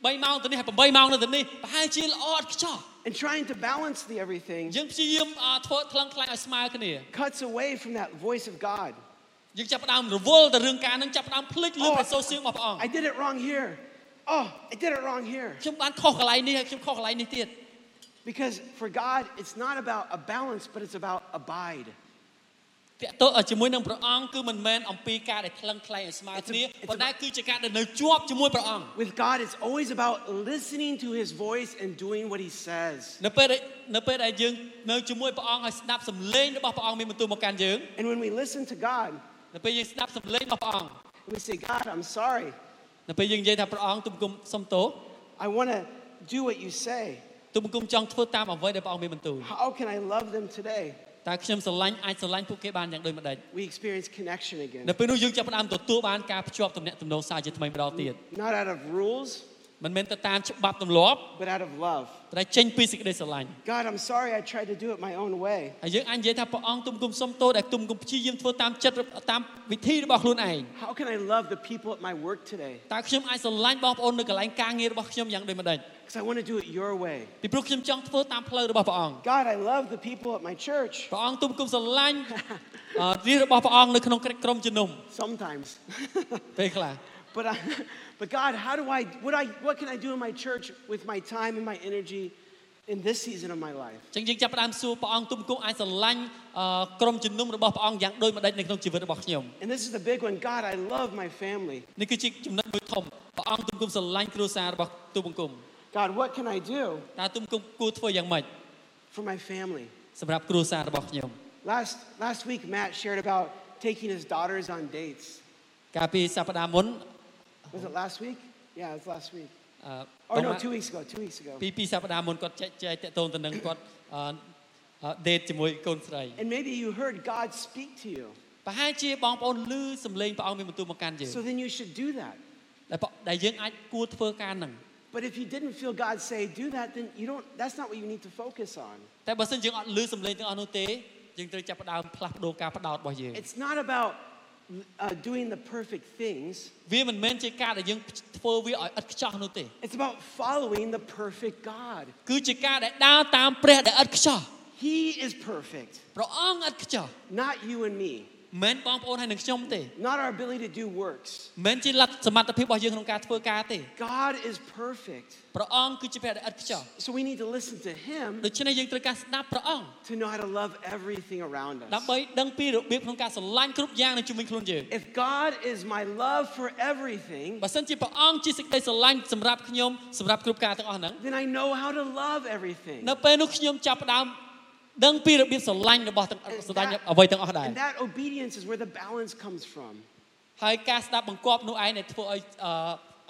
S4: 3ម៉ោងទៅនេះ8ម៉ោងនៅទីនេះប្រហែលជាល្អឥតខ្ចោះ
S3: And trying to balance the everything
S4: យើងព្យាយាមអ่าធ្វើថ្លឹងថ្លែងឲ្យស្មើគ្នា
S3: cuts away from that voice of God. Oh,
S4: យើងចាប់ផ្ដើមរវល់ទៅរឿងការហ្នឹងចាប់ផ្ដើមភ្លេចលឺព្រះសូរសៀងរបស់ព្រះអង្គ
S3: I did it wrong here. Oh, I did it wrong here.
S4: ខ្ញុំបានខុសកន្លែងនេះហើយខ្ញុំខុសកន្លែងនេះទៀត
S3: Because for God, it's not about a balance, but it's about abide.
S4: តកតើជាមួយនឹងព្រះអង្គគឺមិនមែនអំពីការដែលថ្លឹងថ្លែងឲ្យស្មើគ្នា
S3: It's a- it's a-
S4: ប៉ុន្តែគឺជាការដែលនៅជាប់ជាមួយព្រះអង្គ
S3: With God, it's always about listening to his voice and doing what he says.
S4: នៅពេលដែលនៅពេលដែលយើងនៅជាមួយព្រះអង្គហើយស្ដាប់សំឡេងរបស់ព្រះអង្គមានបន្ទូលមកកាន់យើង
S3: And when we listen to God,
S4: នៅពេលយើងស្ដាប់សំឡេងរបស់ព្រះអង្គ
S3: we say, God, I'm sorry.
S4: នៅពេលយើងនិយាយថាព្រះអង្គទុំគុំសុំទោស
S3: I want to do what you say.
S4: ទុំគុំចង់ធ្វើតាមអ្វីដែលព្រះអង្គមានបន្ទូល
S3: How can I love them today?
S4: តើខ្ញុំស្រឡាញ់អាចស្រឡាញ់ពួកគេបានយ៉ាងដូចម្ដេច
S3: We experience connection again.
S4: នៅពេលនោះយើងចាប់ផ្ដើមទទួលបានការភ្ជាប់ទំនាក់ទំនងសារជាថ្មីម្ដងទៀត
S3: Not out of rules,
S4: មិនមែនទៅតាមច្បាប់ទម្លាប់
S3: but out of love.
S4: តែចេញពីសេចក្តីស្រឡាញ់
S3: God, I'm sorry I tried to do it my own way.
S4: ហើយយើងអាចនិយាយថាព្រះអង្គទុំគុំសុំទោសដែលទុំគុំព្យាយាមធ្វើតាមចិត្តរបស់តាមវិធីរបស់ខ្លួនឯង
S3: How can I love the people at my work today?
S4: តើខ្ញុំអាចស្រឡាញ់បងប្អូននៅកន្លែងការងាររបស់ខ្ញុំយ៉ាងដូចម្ដេច
S3: Because I want to do it your way.
S4: ពីព្រោះខ្ញុំចង់ធ្វើតាមផ្លូវរបស់ព្រះអង្គ
S3: God, I love the people at my church
S4: ព្រះអង្គទុំគុំស្រឡាញ់ អឺរាជរបស់ព្រះអង្គនៅក្នុងក្រឹតក្រុមជំនុំ
S3: sometimes.
S4: ពេលខ្លះ
S3: but, I, but God, how do I what, I, what can I do in my church with my time and my energy in this season of my life?
S4: អញ្ចឹងយើងចាប់ផ្ដើមសួរព្រះអង្គទុំគុំអាចស្រឡាញ់អឺក្រុមជំនុំរបស់ព្រះអង្គយ៉ាងដូចម្ដេចនៅក្នុងជីវិតរបស់ខ្ញុំ
S3: And this is the big one. God, I love my family.
S4: នេះគឺជាចំណុចមួយធំព្រះអង្គទុំគុំស្រឡាញ់គ្រួសាររបស់ទុំគុំ
S3: God, what can I do
S4: តើទុំគុំគួរធ្វើយ៉ាងម៉េច
S3: for my family?
S4: សម្រាប់គ្រួសាររបស់ខ្ញុំ
S3: Last, last week, Matt shared about taking his daughters on dates.
S4: កាលពីសប្តាហ៍មុន
S3: Was it last week? Yeah, it was last week.
S4: អឺ
S3: Or no, two weeks ago, two weeks ago.
S4: ពីពីសប្តាហ៍មុនគាត់ចែកចែកតកតងទៅនឹងគាត់អឺអឺដេតជាមួយកូនស្រី
S3: And maybe you heard God speak to you.
S4: ប្រហែលជាបងប្អូនឮសំឡេងព្រះអង្គមានបន្ទូលមកកាន់យើង
S3: So then you should do that.
S4: ដែលបងដែលយើងអាចគួរធ្វើការហ្នឹង
S3: But if you didn't feel God say, do that, then you don't, that's not what you need to focus on.
S4: តែបើសិនយើងអត់ឮសំឡេងទាំងអស់នោះទេយើងត្រូវចាប់ផ្ដើមផ្លាស់ប្ដូរការផ្ដោតរបស់យើង
S3: It's not about uh, doing the perfect things,
S4: វាមិនមែនជាការដែលយើងធ្វើវាឲ្យឥតខ្ចោះនោះទេ
S3: it's about following the perfect God.
S4: គឺជាការដែលដើរតាមព្រះដែលឥតខ្ចោះ
S3: He is perfect,
S4: ព្រះអង្គឥតខ្ចោះ
S3: not you and me,
S4: មិនមែនបងប្អូនហើយនឹងខ្ញុំទេ
S3: not our ability to do works.
S4: មិនមែនជាលទ្ធសមត្ថភាពរបស់យើងក្នុងការធ្វើការទេ
S3: God is perfect.
S4: ព្រះអង្គគឺជាព្រះដែលឥតខ្ចោះ
S3: So we need to listen to Him
S4: ដូច្នេះយើងត្រូវការស្ដាប់ព្រះអង្គ
S3: to know how to love everything around us.
S4: ដើម្បីដឹងពីរបៀបក្នុងការស្រឡាញ់គ្រប់យ៉ាងនៅជុំវិញខ្លួនយើង
S3: If God is my love for everything,
S4: បើសិនជាព្រះអង្គជាសេចក្តីស្រឡាញ់សម្រាប់ខ្ញុំសម្រាប់គ្រប់ការទាំងអស់ហ្នឹង
S3: then I know how to love everything.
S4: នៅពេលនោះខ្ញុំចាប់ផ្ដើមដឹងពីរបៀបស្រឡាញ់របស់ទាំងស្រឡាញ់អ្វីទាំងអស់ដែរ
S3: and that obedience is where the balance comes from.
S4: ហើយការស្ដាប់បង្គាប់នោះឯងដែលធ្វើឲ្យ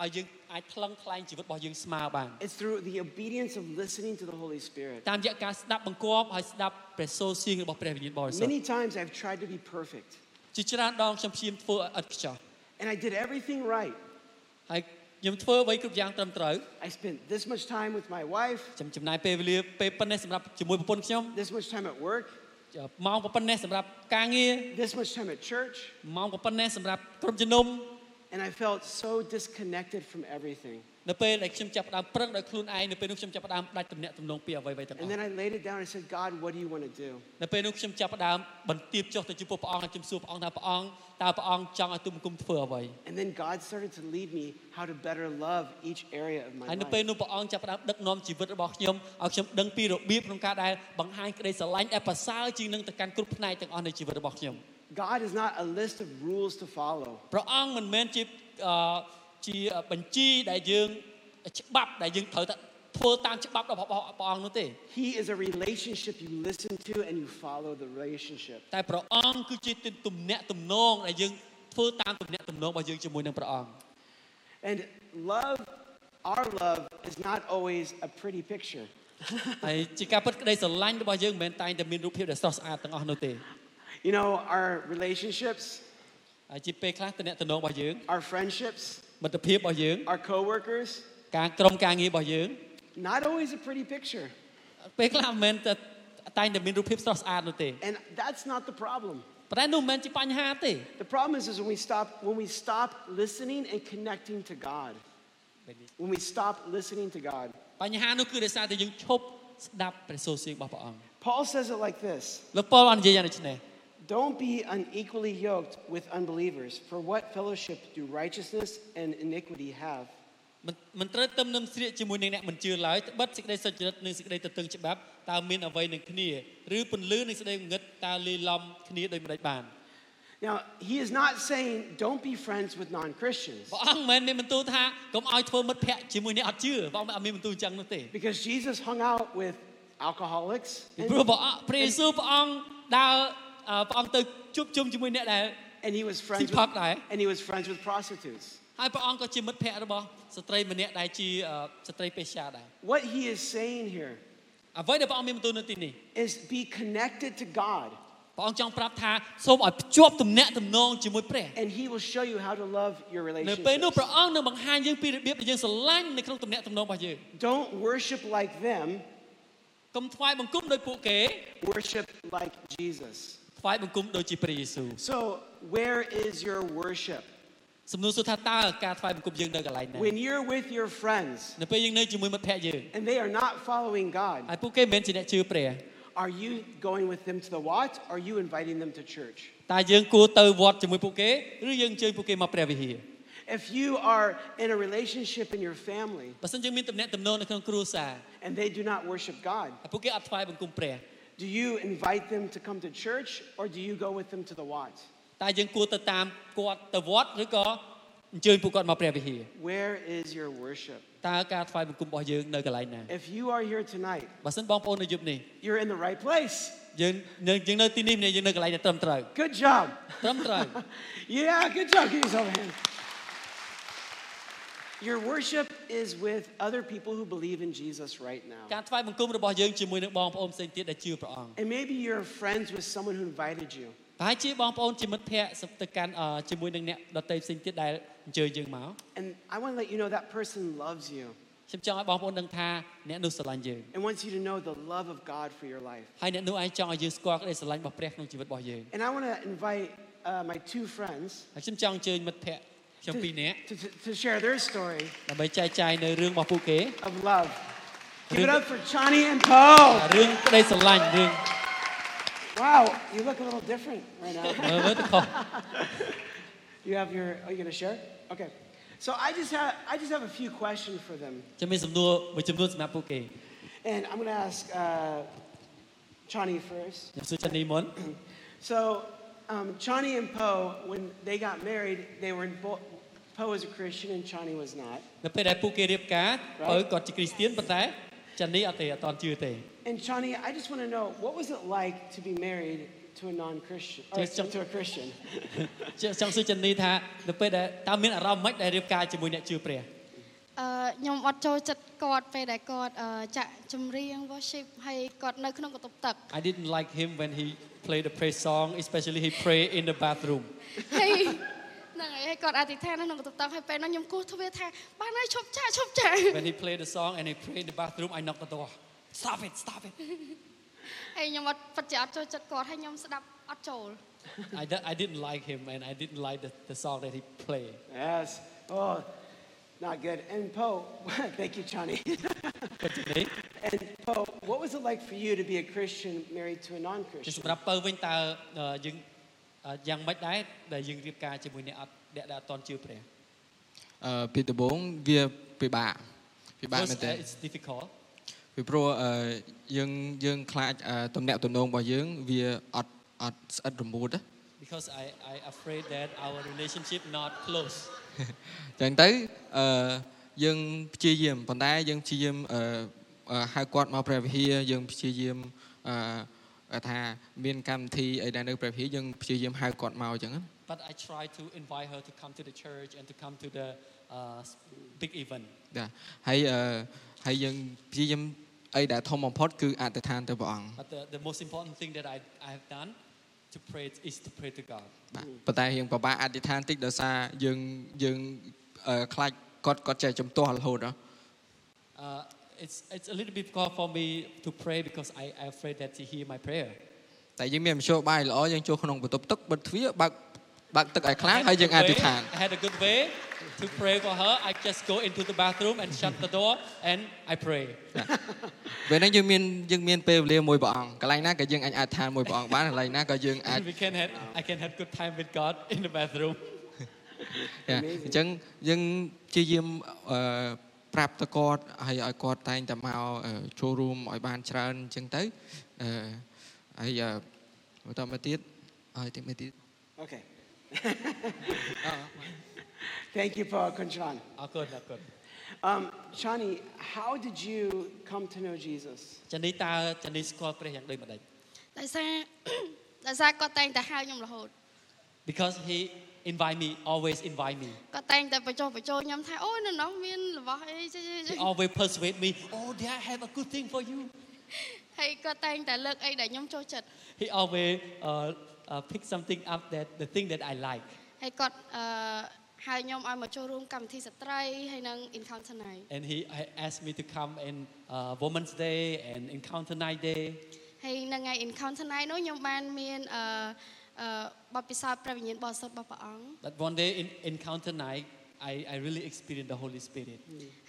S4: អឺឲ្យយើងអាចថ្លឹងថ្លែងជីវិតរបស់យើងស្មើបាន
S3: It's through the obedience of listening to the Holy Spirit.
S4: តាមរយៈការស្ដាប់បង្គាប់ហើយស្ដាប់ព្រះសូរសៀងរបស់ព្រះវិញ្ញាណបរិសុទ្ធ
S3: Many times I've tried to be perfect,
S4: ជាច្រើនដងខ្ញុំព្យាយាមធ្វើឲ្យឥតខ្ចោះ
S3: and I did everything right.
S4: ហើយខ្ញុំធ្វើអ្វីគ្រប់យ៉ាងត្រឹមត្រូវ
S3: I spent this much time with my wife,
S4: ខ្ញុំចំណាយពេលវេលាពេលប៉ុណ្ណេះសម្រាប់ជាមួយប្រពន្ធខ្ញុំ
S3: this much time at work,
S4: ម៉ោងប៉ុណ្ណេះសម្រាប់ការងារ
S3: this much time at church,
S4: ម៉ោងប៉ុណ្ណេះសម្រាប់ក្រុមជំនុំ
S3: and I felt so disconnected from everything.
S4: នៅពេលដែលខ្ញុំចាប់ផ្ដើមប្រឹងដោយខ្លួនឯងនៅពេលនោះខ្ញុំចាប់ផ្ដើមដាច់ទំនាក់ទំនងពីអ្វីៗទាំងអស់
S3: And then I laid it down and said, God, what do you want to do?
S4: នៅពេលនោះខ្ញុំចាប់ផ្ដើមបន្ទាបចុះទៅជួបព្រះអង្គហើយខ្ញុំសួរព្រះអង្គថាព្រះអង្គតើព្រះអង្គចង់ឲ្យទុំគុំធ្វើអ្វី
S3: And then God started to lead me how to better love each area of my
S4: ហើយ
S3: life.
S4: នៅពេលនោះព្រះអង្គចាប់ផ្ដើមដឹកនាំជីវិតរបស់ខ្ញុំឲ្យខ្ញុំដឹងពីរបៀបក្នុងការដែលបង្ហាញក្តីស្រឡាញ់ដែលប្រសើរជាងនឹងទៅកាន់គ្រប់ផ្នែកទាំងអស់នៃជីវិតរបស់ខ្ញុំ
S3: God is not a list of rules to follow.
S4: ព្រះអង្គមិនមែនជាអឺជាបញ្ជីដែលយើងច្បាប់ដែលយើងត្រូវតែធ្វើតាមច្បាប់របស់ព្រះអង្គនោះទេ
S3: He is a relationship you listen to and you follow the relationship.
S4: តែព្រះអង្គគឺជាទំនាក់ទំនងដែលយើងធ្វើតាមទំនាក់ទំនងរបស់យើងជាមួយនឹងព្រះអង្គ
S3: And love, our love, is not always a pretty picture.
S4: ហើយជាការពិតក្តីស្រឡាញ់របស់យើងមិនមែនតែងតែមានរូបភាពដែលស្រស់ស្អាតទាំងអស់នោះទេ
S3: You know, our relationships,
S4: ហើយជាពេលខ្លះទំនាក់ទំនងរបស់យើង
S3: our friendships,
S4: មិត្តភាពរបស់យើង
S3: our coworkers,
S4: ការក្រុមការងាររបស់យើង
S3: not always a pretty picture.
S4: ពេលខ្លះមិនមែនតែតែងតែមានរូបភាពស្រស់ស្អាតនោះទេ
S3: And that's not the problem.
S4: ប៉ុន្តែនោះមិនមែនជាបញ្ហាទេ
S3: The problem is, is when we stop when we stop listening and connecting to God. When we stop listening to God.
S4: បញ្ហានោះគឺដោយសារតែយើងឈប់ស្ដាប់ព្រះសូរសៀងរបស់ព្រះអង្គ
S3: Paul says it like this
S4: លោកប៉ុលបាននិយាយយ៉ាងដូចនេះ
S3: Don't be unequally yoked with unbelievers, for what fellowship do righteousness and iniquity have?
S4: មិនមិនត្រូវទំនឹងស្លៀកជាមួយនឹងអ្នកមិនជឿឡើយត្បិតសេចក្តីសុចរិតនិងសេចក្តីទទឹងច្បាប់តើមានអ្វីនឹងគ្នាឬពន្លឺនិងសេចក្តីងងឹតតើលីឡំគ្នាដោយមិនដាច់បាន
S3: Now, he is not saying don't be friends with non Christians,
S4: ព្រះអង្គមិនមានបន្ទូលថាកុំឲ្យធ្វើមិត្តភក្តិជាមួយអ្នកអត់ជឿព្រះអង្គមិនអត់មានបន្ទូលអញ្ចឹងនោះទេ
S3: because Jesus hung out with alcoholics
S4: ពី
S3: and,
S4: ព្រោះព្រះអង្គព្រះយេស៊ូវព្រះអង្គដើរអឺព្រះអង្គទៅជួបជុំជាមួយអ្នកដែល
S3: and he was friends
S4: See, Park
S3: with,
S4: Dai.
S3: and he was friends with prostitutes.
S4: ហើយព្រះអង្គក៏ជាមិត្តភក្តិរបស់ស្ត្រីម្នាក់ដែលជាអឺស្ត្រីពេស្យាដែរ
S3: What he is saying here
S4: អ្វីដែលព្រះអង្គមានបន្ទូលនៅទីនេះ
S3: is be connected to God,
S4: ព្រះអង្គចង់ប្រាប់ថាសូមឲ្យភ្ជាប់ទំនាក់ទំនងជាមួយព្រះ
S3: and he will show you how to love your
S4: នៅពេល
S3: relationships.
S4: នោះព្រះអង្គនឹងបង្ហាញយើងពីរបៀបដែលយើងស្រឡាញ់នៅក្នុងទំនាក់ទំនងរបស់យើង
S3: Don't worship like them,
S4: កុំថ្វាយបង្គំដោយពួកគេ
S3: worship like Jesus.
S4: ថ្វាយបង្គំដូចជាព្រះយេស៊ូវ
S3: So, where is your worship?
S4: សំណួរសួរថាតើការថ្វាយបង្គំយើងនៅកន្លែងណា
S3: When you're with your friends
S4: នៅពេលយើងនៅជាមួយមិត្តភក្តិយើង
S3: and they are not following God,
S4: ហើយពួកគេមិនមែនជាអ្នកជឿព្រះ
S3: are you going with them to the watch? Are you inviting them to church?
S4: តើយើងគួរទៅវត្តជាមួយពួកគេឬយើងអញ្ជើញពួកគេមកព្រះវិហារ
S3: If you are in a relationship in your family
S4: បើសិនយើងមានទំនាក់ទំនងនៅក្នុងគ្រួសារ
S3: and they do not worship God,
S4: ហើយពួកគេអត់ថ្វាយបង្គំព្រះ
S3: do you invite them to come to church or do you go with them to the watch?
S4: តើយើងគួរទៅតាមគាត់ទៅវត្តឬក៏អញ្ជើញពួកគាត់មកព្រះវិហារ
S3: Where is your worship?
S4: តើការថ្វាយបង្គំរបស់យើងនៅកន្លែងណា
S3: If you are here tonight,
S4: បើសិនបងប្អូននៅយប់នេះ
S3: you're in the right place.
S4: យើងនៅយើងនៅទីនេះម្នាក់យើងនៅកន្លែងដែលត្រឹមត្រូវ
S3: Good job.
S4: ត្រឹមត្រូវ
S3: Yeah, good job. Give yourself a hand. Your worship is with other people who believe in Jesus right now.
S4: ការថ្វាយបង្គំរបស់យើងជាមួយនឹងបងប្អូនផ្សេងទៀតដែលជឿព្រះអង្គ
S3: And maybe you're friends with someone who invited you.
S4: ប្រហែលជាបងប្អូនជាមិត្តភ័ក្តិទៅកាន់អឺជាមួយនឹងអ្នកដទៃផ្សេងទៀតដែលអញ្ជើញយើងមក
S3: And I want to let you know that person loves you
S4: ខ្ញុំចង់ឲ្យបងប្អូនដឹងថាអ្នកនោះស្រឡាញ់យើង
S3: and wants you to know the love of God for your life.
S4: ហើយអ្នកនោះឯងចង់ឲ្យយើងស្គាល់ក្តីស្រឡាញ់របស់ព្រះក្នុងជីវិតរបស់យើង
S3: And I want to invite uh, my two friends
S4: ហើយខ្ញុំចង់អញ្ជើញមិត្តភ័ក្តិខ្ញុំ
S3: to,
S4: ពីរនាក់
S3: to, to, to share their story
S4: ដើម្បីចែកចាយនៅរឿងរបស់ពួកគេ
S3: of love. Give it
S4: Really?
S3: up for Johnny and Paul.
S4: រឿងក្តីស្រឡាញ់រឿង
S3: Wow, you look a little different right now.
S4: មើលមើលទៅខុស
S3: You have your. Are you gonna share? Okay. So I just have I just have a few questions for them,
S4: ខ្ញុំមានសំណួរមួយចំនួនសម្រាប់ពួកគេ
S3: and I'm gonna ask uh, Chani first.
S4: ខ្ញុំសួរចានីមុន
S3: So um, Chani and Poe, when they got married, they were in bo- Poe was a Christian and Chani was not.
S4: នៅពេលដែលពួកគេរៀបការបើគាត់ជាគ្រីស្ទានប៉ុន្តែចានីអត់ទេអត់តន់ជឿទេ
S3: And Chani, I just want to know what was it like to be married to a non-Christian or
S4: Just jump-
S3: to a Christian?
S4: ចចង់សួរចានីថានៅពេលដែលតើមានអារម្មណ៍ម៉េចដែលរៀបការជាមួយអ្នកជឿព្រះ
S5: អឺខ្ញុំអត់ចូលចិត្តគាត់ពេលដែលគាត់អឺចាក់ចម្រៀង worship ហើយគាត់នៅក្នុងកន្ទប់ទឹក
S4: I didn't like him when he played the praise song especially he pray in the bathroom
S5: ហើយហ្នឹងហើយហើយគាត់អធិដ្ឋាននៅក្នុងកន្ទប់ទឹកហើយពេលហ្នឹងខ្ញុំគោះទ្វារថាបានហើយឈប់ចាក់ឈប់ចាក់
S4: when he played the song and he pray in the bathroom I knocked the door stop it stop it
S5: ហើយខ្ញុំអត់ពិតជាអត់ចូលចិត្តគាត់ហើយខ្ញុំស្ដាប់អត់ចូល
S4: I, di- I didn't like him and I didn't like the, the song that he played
S3: yes. Oh, not good. And Poe, thank you, Chani.
S4: គាត់ចានី
S3: And Poe, what was it like for you to be a Christian married to a
S4: ជា
S3: non-Christian?
S4: សម្រាប់ពៅវិញតើអឺយើងអឺយ៉ាងម៉េចដែរដែលយើងរៀបការជាមួយអ្នកអត់អ្នកដែលអត់តន់ជឿព្រះ
S6: អឺពីដំបូងវាពិបាកពិបាក
S4: Because,
S6: មែនទែន
S4: uh, it's difficult
S6: ពីព្រោះអឺយើងយើងខ្លាចអឺទំនាក់ទំនងរបស់យើងវាអត់អត់ស្អិតរមួតណា
S4: because I, I afraid that our relationship not close.
S6: ចឹងទៅអឺយើងព្យាយាមប៉ុន្តែយើងព្យាយាមអឺអឺហៅគាត់មកព្រះវិហារយើងព្យាយាមអឺថាមានកម្មវិធីអីដែលនៅព្រះវិហារយើងព្យាយាមហៅគាត់មកអញ្ចឹងណា
S4: But I try to invite her to come to the church and to come to the uh, s- big event.
S6: បាទហើយអឺហើយយើងព្យាយាមអីដែលធំបំផុតគឺអធិដ្ឋានទៅព្រះអង្គ
S4: But the, the most important thing that I, I have done to pray is to pray to God.
S6: បាទប៉ុន្តែយើងពិបាកអធិដ្ឋានតិចដោយសារយើងយើងអឺខ្លាចគាត់គាត់ចេះជំទាស់រហូតហ៎
S4: Uh, it's, it's a little bit difficult for me to pray because I, I afraid that he hear my prayer.
S6: តែយើងមានមធ្យោបាយល្អយើងចូលក្នុងបន្ទប់ទឹកបិទទ្វារបើកបើកទឹកឲ្យខ្លាំង
S4: I
S6: ហើយ
S4: had a
S6: យើង
S4: good
S6: អ
S4: way-
S6: ធិដ្ឋាន
S4: I had a good way to pray for her. I just go into the bathroom and shut the door and I pray.
S6: ពេលហ្នឹងយើងមានយើងមានពេលវេលាមួយព្រះអង្គកន្លែងណាក៏យើងអាចអធិដ្ឋានមួយព្រះអង្គបានកន្លែងណាក៏យើងអាច
S4: And we can have, I can have good time with God in the bathroom.
S6: ចាអញ្ចឹងយើងព្យាយាមអឺប្រាប់ទៅគាត់ហើយឲ្យគាត់តែងតែមកអឺចូលរួមឲ្យបានច្រើនអញ្ចឹងទៅអឺហើយអឺបន្តមកទៀតឲ្យតិចមកទៀត
S3: Okay. Thank you, Paul Conchon.
S4: Oh, good, oh, good.
S3: Um, Shani, how did you come to know Jesus?
S4: ចានីតើចានីស្គាល់ព្រះយ៉ាងដូចម្ដេច
S5: ដោយសារ ដោយសារគាត់តែងតែហៅខ្ញុំរហូត
S4: Because he invite me always invite me
S5: គាត់តែងតែបញ្ចុះបញ្ចូលខ្ញុំថាអូយនៅនោះមានរបស់អីចេះចេះ
S4: he
S5: ចេះ
S4: always persuade me oh there I have a good thing for you
S5: ហើយគាត់តែងតែលើកអីដែលខ្ញុំចូលចិត្ត
S4: he always uh, uh, pick something up that the thing that I like
S5: ហើយគាត់អឺហៅខ្ញុំឲ្យមកចូលរួមកម្មវិធីស្ត្រីហើយនឹង Encounter Night
S4: and he I asked me to come in uh, Women's Day and Encounter Night Day
S5: ហើយនៅថ្ងៃ Encounter Night នោះខ្ញុំបានមានអឺអឺបទពិសោធន៍ព្រះវិញ្ញាណបរិសុទ្ធរបស់ព្រះអង្គ
S4: but one day in Encounter Night I I really experienced the Holy Spirit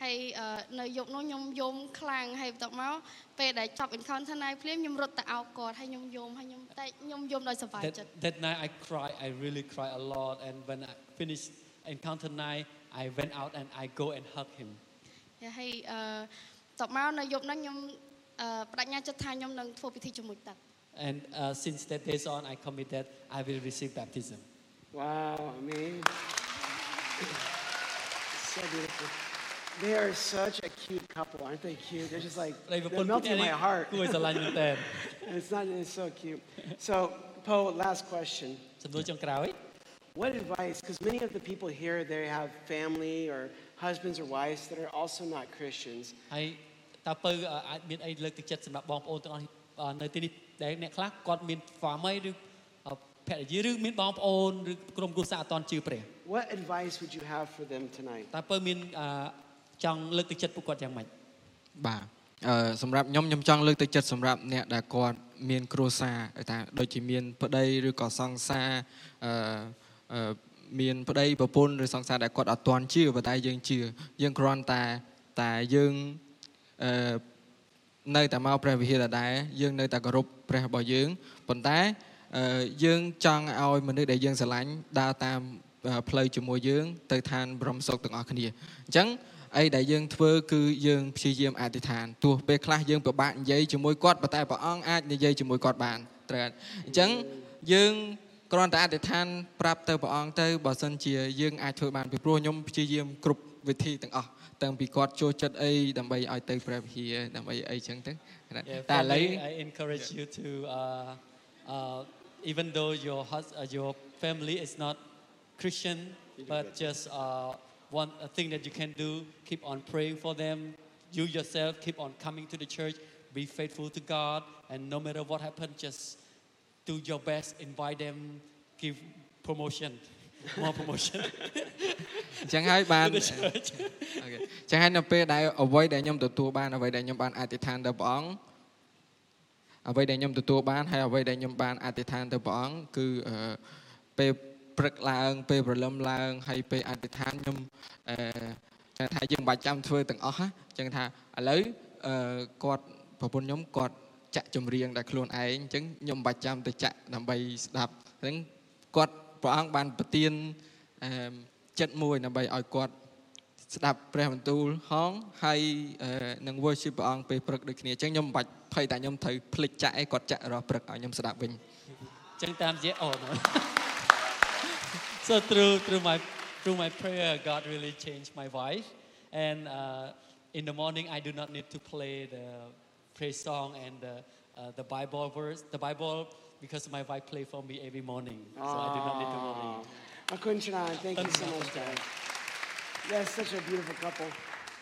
S5: ហើយអឺនៅយប់នោះខ្ញុំយំខ្លាំងហើយបន្ទាប់មកពេលដែលចប់ Encounter Night ភ្លាមខ្ញុំរត់ទៅអោបគាត់ហើយខ្ញុំយំហើយខ្ញុំតែខ្ញុំយំដោយសប្បាយ
S4: that
S5: ចិត្ត
S4: that night I cried I really cried a lot and when I finished Encounter Night I went out and I go and hug him
S5: ហើយអឺបន្ទាប់មកនៅយប់នោះខ្ញុំអឺបដិញ្ញាចិត្តថាខ្ញុំនឹងធ្វើពិធីជាមួយទឹក
S4: and uh, since that days on I committed I will receive baptism
S3: Wow, amazing. so beautiful. They are such a cute couple, aren't they cute? They're just like,
S4: ប្តីប្រព
S3: they're
S4: ន្ធ
S3: melting my heart.
S4: គួរឲ្យស្រឡាញ់មែនតើ
S3: And it's not, it's so cute. So, Poe, last question.
S4: សំណួរចុងក្រោយ
S3: What advice, because many of the people here, they have family or husbands or wives that are also not Christians.
S4: ហើយតើពៅអឺអាចមានអីលើកទឹកចិត្តសម្រាប់បងប្អូនទាំងអស់អឺនៅទីនេះដែលអ្នកខ្លះគាត់មានហ្វាមីឬអឺភរិយាឬមានបងប្អូនឬក្រុមគ្រួសារអត់តន់ជឿព្រះ
S3: What advice would you have for them tonight?
S4: តើពៅមានអឺចង់លើកទឹកចិត្តពួកគាត់យ៉ាងម៉េច
S6: បាទអឺសម្រាប់ខ្ញុំខ្ញុំចង់លើកទឹកចិត្តសម្រាប់អ្នកដែលគាត់មានគ្រួសារឲ្យថាដូចជាមានប្តីឬក៏សង្សារអឺអឺមានប្តីប្រពន្ធឬសង្សារដែលគាត់អត់ទាន់ជឿប៉ុន្តែយើងជឿយើងគ្រាន់តែតែយើងអឺនៅតែមកព្រះវិហារដដែលយើងនៅតែគោរពព្រះរបស់យើងប៉ុន្តែអឺយើងចង់ឲ្យមនុស្សដែលយើងស្រឡាញ់ដើរតាមអឺផ្លូវជាមួយយើងទៅឋានព្រហ្មសុខទាំងអស់គ្នាអញ្ចឹង អីដែលយើងធ្វើគឺយើងព្យាយាមអធិដ្ឋានទោះពេលខ្លះយើងពិបាកនិយាយជាមួយគាត់ប៉ុន្តែព្រះអង្គអាចនិយាយជាមួយគាត់បានត្រូវអត់អញ្ចឹងយើងគ្រាន់តែអធិដ្ឋានប្រាប់ទៅព្រះអង្គទៅបើសិនជាយើងអាចធ្វើបានពីព្រោះខ្ញុំព្យាយាមគ្រប់វិធីទាំងអស់តាំងពីគាត់ចូលចិត្តអីដើម្បីឲ្យទៅព្រះវិហារដើម្បីអីចឹងទៅណាតែឥឡូវ
S4: I encourage you to uh uh even though your hus uh, your family is not Christian but just uh one a thing that you can do keep on praying for them you yourself keep on coming to the church be faithful to God and no matter what happens just do your best invite them give promotion more promotion
S6: អញ្ចឹងហើយបាន
S4: to the church
S6: អូខេអញ្ចឹងហើយនៅពេលដែលអ្វីដែលខ្ញុំទទួលបានអ្វីដែលខ្ញុំបានអធិដ្ឋានទៅព្រះអង្គអ្វីដែលខ្ញុំទទួលបានហើយអ្វីដែលខ្ញុំបានអធិដ្ឋានទៅព្រះអង្គគឺអឺពេលព្រឹកឡើងពេលព្រលឹមឡើងហើយពេលអធិដ្ឋានខ្ញុំអឺចាំថាយើងមិនបាច់ចាំធ្វើទាំងអស់ណាអញ្ចឹងថាឥឡូវអឺគាត់ប្រពន្ធខ្ញុំគាត់ចាក់ចម្រៀងដល់ខ្លួនឯងអញ្ចឹងខ្ញុំមិនបាច់ចាំទៅចាក់ដើម្បីស្ដាប់អញ្ចឹងគាត់ព្រះអង្គបានប្រទានអឺចិត្តមួយដើម្បីឲ្យគាត់ ស្ដាប់ព្រះបន្ទូលហងហើយអឺនឹង worship ព្រះអង្គពេលព្រឹកដូចគ្នាអញ្ចឹងខ្ញុំមិនបាច់ភ័យតែខ្ញុំត្រូវភ្លេចចាក់ឯងគាត់ចាក់រស់ព្រឹកឲ្យខ្ញុំស្ដាប់វិញ
S4: ចឹងតាមរយៈអូ So through through my through my prayer, God really changed my wife. And uh, in the morning, I do not need to play the praise song and the, uh, the Bible verse, the Bible, because my wife play for me every morning. So I do not need to worry.
S3: Akunchanan, thank you so much, guys. Yes, such a beautiful couple.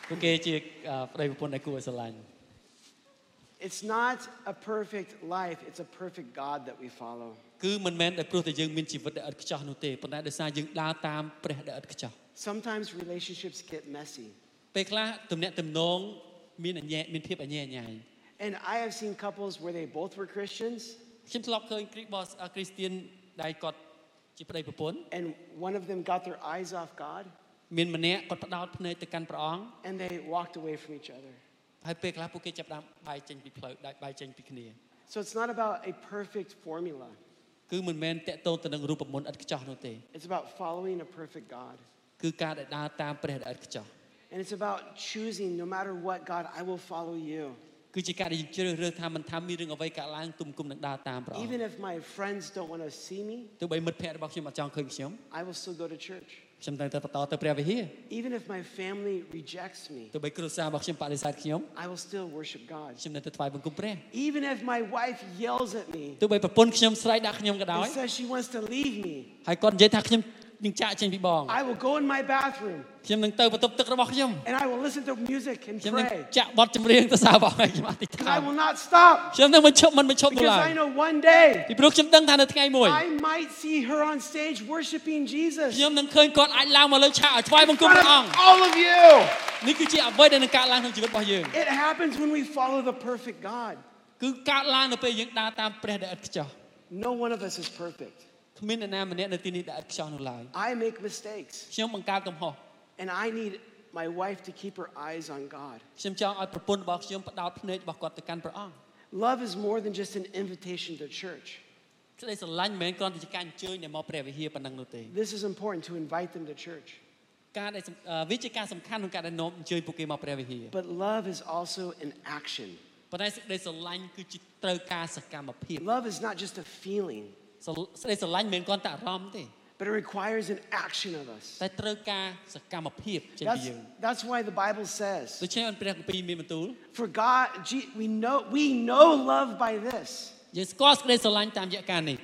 S4: ពួកគេជាអឺប្តីប្រពន្ធដែលគួរឲ្យស្រឡាញ់
S3: It's not a perfect life, it's a perfect God that we follow.
S4: គឺមិនមែនតែព្រោះតែយើងមានជីវិតដែលឥតខ្ចោះនោះទេប៉ុន្តែដោយសារយើងដើរតាមព្រះដែលឥតខ្ចោះ
S3: Sometimes relationships get messy.
S4: ពេលខ្លះទំនាក់ទំនងមានអញ្ញែមានភាពអញ្ញែអញ្ញែ
S3: And I have seen couples where they both were Christians
S4: ខ្ញុំធ្លាប់ឃើញគ្រីស្ទបសអឺគ្រីស្ទៀនដែលគាត់ជាប្តីប្រពន្ធ
S3: and one of them got their eyes off God
S4: មានម្នាក់គាត់ផ្ដោតភ្នែកទៅកាន់ព្រះអង្គ
S3: and they walked away from each other.
S4: ហើយពេលខ្លះពួកគេចាប់ផ្ដើមបែកចេញពីផ្លូវដាច់បែកចេញពីគ្នា
S3: So it's not about a perfect formula,
S4: គឺមិនមែនតកតងទៅនឹងរូបមន្តឥតខ្ចោះនោះទេ
S3: it's about following a perfect God.
S4: គឺការដែលដើរតាមព្រះដែលឥតខ្ចោះ
S3: And it's about choosing, no matter what, God, I will follow you.
S4: គឺជាការដែលយើងជ្រើសរើសថាមិនថាមានរឿងអ្វីកើតឡើងទុំគុំនឹងដើរតាមព្រះអង្គ
S3: Even if my friends don't want to see me,
S4: ទោះបីមិត្តភក្តិរបស់ខ្ញុំអត់ចង់ឃើញខ្ញុំ
S3: I will still go to church.
S4: ខ្ញុំតែងតែបន្តទៅព្រះវិហារ
S3: Even if my family rejects me,
S4: ទោះបីគ្រួសាររបស់ខ្ញុំបដិសេធខ្ញុំ
S3: I will still worship God.
S4: ខ្ញុំនៅតែថ្វាយបង្គំព្រះ
S3: Even if my wife yells at me
S4: ទោះបីប្រពន្ធខ្ញុំស្រែកដាក់ខ្ញុំក៏ដោយ
S3: and says she wants to leave me,
S4: ហើយគាត់និយាយថាខ្ញុំនឹងចាក់ចេញពីបង
S3: I will go in my bathroom
S4: ខ្ញុំនឹងទៅបន្ទប់ទឹករបស់ខ្ញុំ
S3: and I will listen to music and
S4: ខ្ញុំនឹង
S3: pray.
S4: ចាក់បទចម្រៀងទៅសារបងឯងខ្ញុំអធិដ្ឋ
S3: Because
S4: ា
S3: I
S4: ន
S3: will not stop
S4: ខ្ញុំនឹងមិនឈប់មិនបញ្ឈប់នោះ
S3: because
S4: ឡើយ
S3: I know one day
S4: ពីព្រោះខ្ញុំដឹងថានៅថ្ងៃមួយ
S3: I might see her on stage worshiping Jesus
S4: ខ្ញុំនឹងឃើញគាត់អាចឡើងមកលើឆាកឲ្យថ្វាយបង្គំ
S3: in
S4: ព្រះអង្គ
S3: front of all of you.
S4: នេះគឺជាអ្វីដែលនឹងកើតឡើងក្នុងជីវិតរបស់យើង
S3: It happens when we follow the perfect God.
S4: គឺកើតឡើងនៅពេលយើងដើរតាមព្រះដែលឥតខ្ចោះ
S3: No one of us is perfect.
S4: គ្មានអ្នកណាម្នាក់នៅទីនេះដែលឥតខ្ចោះនោះឡើយ
S3: I make mistakes
S4: ខ្ញុំបង្កើតកំហុស
S3: and I need my wife to keep her eyes on God.
S4: ខ្ញុំចង់ឲ្យប្រពន្ធរបស់ខ្ញុំផ្ដោតភ្នែករបស់គាត់ទៅកាន់ព្រះអង្គ
S3: Love is more than just an invitation to church.
S4: សេចក្តីស្រឡាញ់មិនមែនគ្រាន់តែជាការអញ្ជើញអ្នកមកព្រះវិហារប៉ុណ្ណឹងនោះទេ
S3: This is important to invite them to church.
S4: ការដែលសំអឺវាជាការសំខាន់ក្នុងការដែលនាំអញ្ជើញពួកគេមកព្រះវិហារ
S3: But love is also an action.
S4: ប៉ុន្តែសេចក្តីស្រឡាញ់គឺជាត្រូវការសកម្មភាព
S3: Love is not just a feeling,
S4: ស្រសេចក្តីស្រឡាញ់មិនមែនគ្រាន់តែអារម្មណ៍ទេ
S3: but it requires an action of us.
S4: តែត្រូវការសកម្មភាពចេញពី
S3: That's,
S4: យើង
S3: that's why the Bible says,
S4: ដូច្នេះអនព្រះគម្ពីរមានបន្ទូល
S3: for God, Je- we know, we know love by this.
S4: យើងស្គាល់សេចក្តីស្រឡាញ់តាមរយៈការនេះ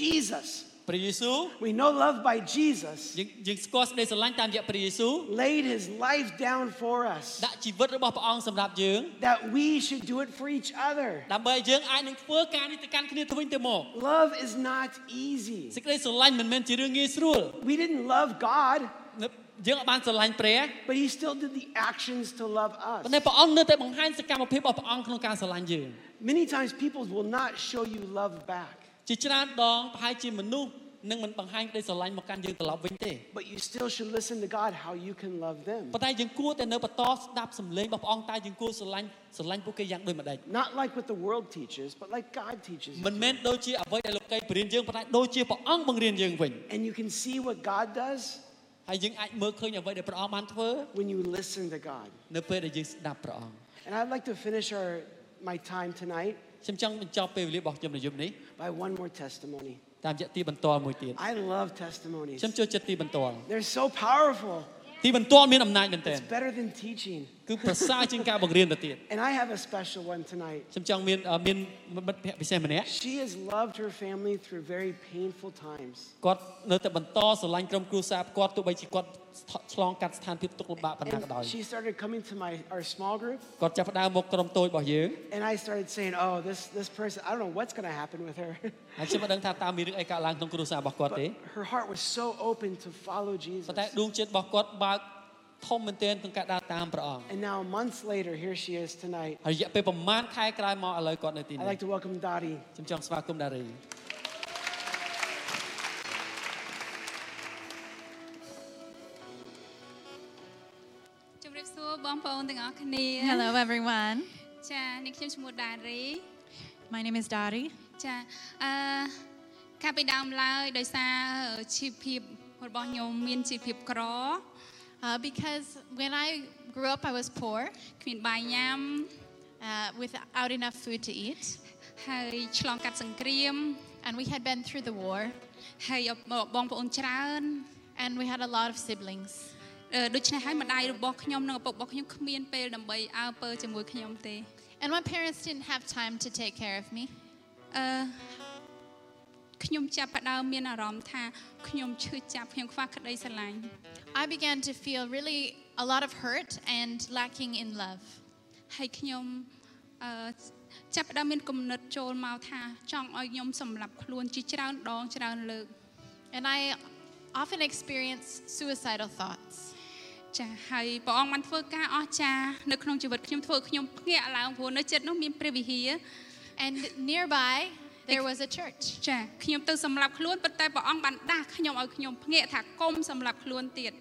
S3: Jesus,
S4: ព្រះយេស៊ូវ
S3: we know love by Jesus,
S4: យើងយើងស្គាល់សេចក្តីស្រឡាញ់តាមរយៈព្រះយេស៊ូវ
S3: laid his life down for us,
S4: ដាក់ជីវិតរបស់ព្រះអង្គសម្រាប់យើង
S3: that we should do it for each other.
S4: ដើម្បីយើងអាចនឹងធ្វើការនេះទៅកាន់គ្នាទៅវិញទៅមក
S3: Love is not easy.
S4: សេចក្តីស្រឡាញ់មិនមែនជារឿងងាយស្រួល
S3: We didn't love God,
S4: នៅយើងអត់បានស្រឡាញ់ព្រះ
S3: but he still did the actions to love
S4: ប៉ុន្តែ
S3: us.
S4: ព្រះអង្គនៅតែបង្ហាញសកម្មភាពរបស់ព្រះអង្គក្នុងការស្រឡាញ់យើង
S3: Many times people will not show you love back,
S4: ជាច្រើនដងប្រហែលជាមនុស្សនឹងមិនបង្ហាញក្តីស្រឡាញ់មកកាន់យើងត្រឡប់វិញទេ
S3: but you still should listen to God how you can love them.
S4: ប៉ុន្តែយើងគួរតែនៅបន្តស្ដាប់សម្លេងរបស់ព្រះអង្គតើយើងគួរស្រឡាញ់ស្រឡាញ់ពួកគេយ៉ាងដូចម្ដេច
S3: Not like what the world teaches, but like God teaches.
S4: មិនមែនដូចជាអ្វីដែលលោកីបរៀនយើងប៉ុន្តែដូចជាព្រះអង្គបង្រៀនយើងវិញ
S3: And you can see what God does
S4: ហើយយើងអាចមើលឃើញអ្វីដែលព្រះអង្គបានធ្វើ
S3: when you listen to God.
S4: នៅពេលដែលយើងស្ដាប់ព្រះអង្គ
S3: And I'd like to finish our, my time tonight
S4: ខ្ញុំចង់បញ្ចប់ពេលវេលារបស់ខ្ញុំនៅយប់នេះ
S3: by one more testimony.
S4: តាមរយៈទីបន្ទាល់មួយទៀត
S3: I love testimonies.
S4: ខ្ញុំចូលចិត្តទីបន្ទាល់
S3: They're so powerful.
S4: ទីបន្ទាល់មានអំណាចមែនទែន
S3: It's better than teaching.
S4: គឺប្រសើរជាងការបង្រៀនទៅទៀត
S3: And I have a special one tonight.
S4: ខ្ញុំចង់មានអឺមានមិត្តភក្តិពិសេសម្នាក់
S3: She has loved her family through very painful times.
S4: គាត់នៅតែបន្តស្រឡាញ់ក្រុមគ្រួសារគាត់ទោះបីជាគាត់ឆ្លងកាត់ស្ថានភាពទុក្ខលំបាកប៉ុណ្ណា
S3: And
S4: ក៏ដោយ
S3: she started coming to my our small group,
S4: គាត់ចាប់ផ្ដើមមកក្រុមតូចរបស់យើង
S3: and I started saying, "Oh, this this person, I don't know what's going to happen with her."
S4: ហើយខ្ញុំមិនដឹងថាតើមានរឿងអីកើតឡើងក្នុងគ្រួសាររបស់គាត់ទេ
S3: But her heart was so open to follow Jesus.
S4: ប៉ុន្តែដួងចិត្តរបស់គាត់បើកធំមែនទែនក្នុងការដើរតាមព្រះអង្គ
S3: And now months later, here she is tonight.
S4: ហើយរយៈពេលប្រហែលខែក្រោយមកឥឡូវគាត់នៅទី
S3: I'd
S4: នេះ
S3: like to welcome Dottie.
S4: ខ្ញុំចង់ស្វាគមន៍ដារី
S7: ជំរាបសួរបងប្អូនទាំងអស់គ្នា
S8: Hello, everyone.
S7: ចានេះខ្ញុំឈ្មោះដារី
S8: My name is Dottie.
S7: ចាអឺកាលពីដើមឡើយដោយសារជីវភាពរបស់ខ្ញុំមានជីវភាពក្រ
S8: Uh, because when I grew up, I was poor,
S7: គ្មានបាយញ៉ាំ
S8: uh, without enough food to eat,
S7: ហើយឆ្លងកាត់សង្គ្រាម
S8: and we had been through the war.
S7: ហើយបងប្អូនច្រើន
S8: and we had a lot of siblings.
S7: អឺដូច្នេះហើយម្ដាយរបស់ខ្ញុំនិងឪពុករបស់ខ្ញុំគ្មានពេលដើម្បីអើពើជាមួយខ្ញុំទេ
S8: And my parents didn't have time to take care of me.
S7: អឺខ្ញុំចាប់ផ្ដើមមានអារម្មណ៍ថាខ្ញុំឈឺចាប់ខ្ញុំខ្វះក្តីស្រឡាញ់
S8: I began to feel really a lot of hurt and lacking in love.
S7: ហើយខ្ញុំអឺចាប់ផ្ដើមមានគំនិតចូលមកថាចង់ឲ្យខ្ញុំសម្លាប់ខ្លួនជាច្រើនដងច្រើនលើក
S8: And I often experienced suicidal thoughts.
S7: ចា៎ហើយព្រះអង្គបានធ្វើការអស្ចារ្យនៅក្នុងជីវិតខ្ញុំធ្វើឲ្យខ្ញុំភ្ញាក់ឡើងព្រោះនៅចិត្តនោះមានព្រះវិហារ
S8: And nearby, there was a church.
S7: ចា៎ខ្ញុំទៅសម្លាប់ខ្លួនប៉ុន្តែព្រះអង្គបានដាស់ខ្ញុំឲ្យខ្ញុំភ្ញាក់ថាកុំសម្លាប់ខ្លួនទៀត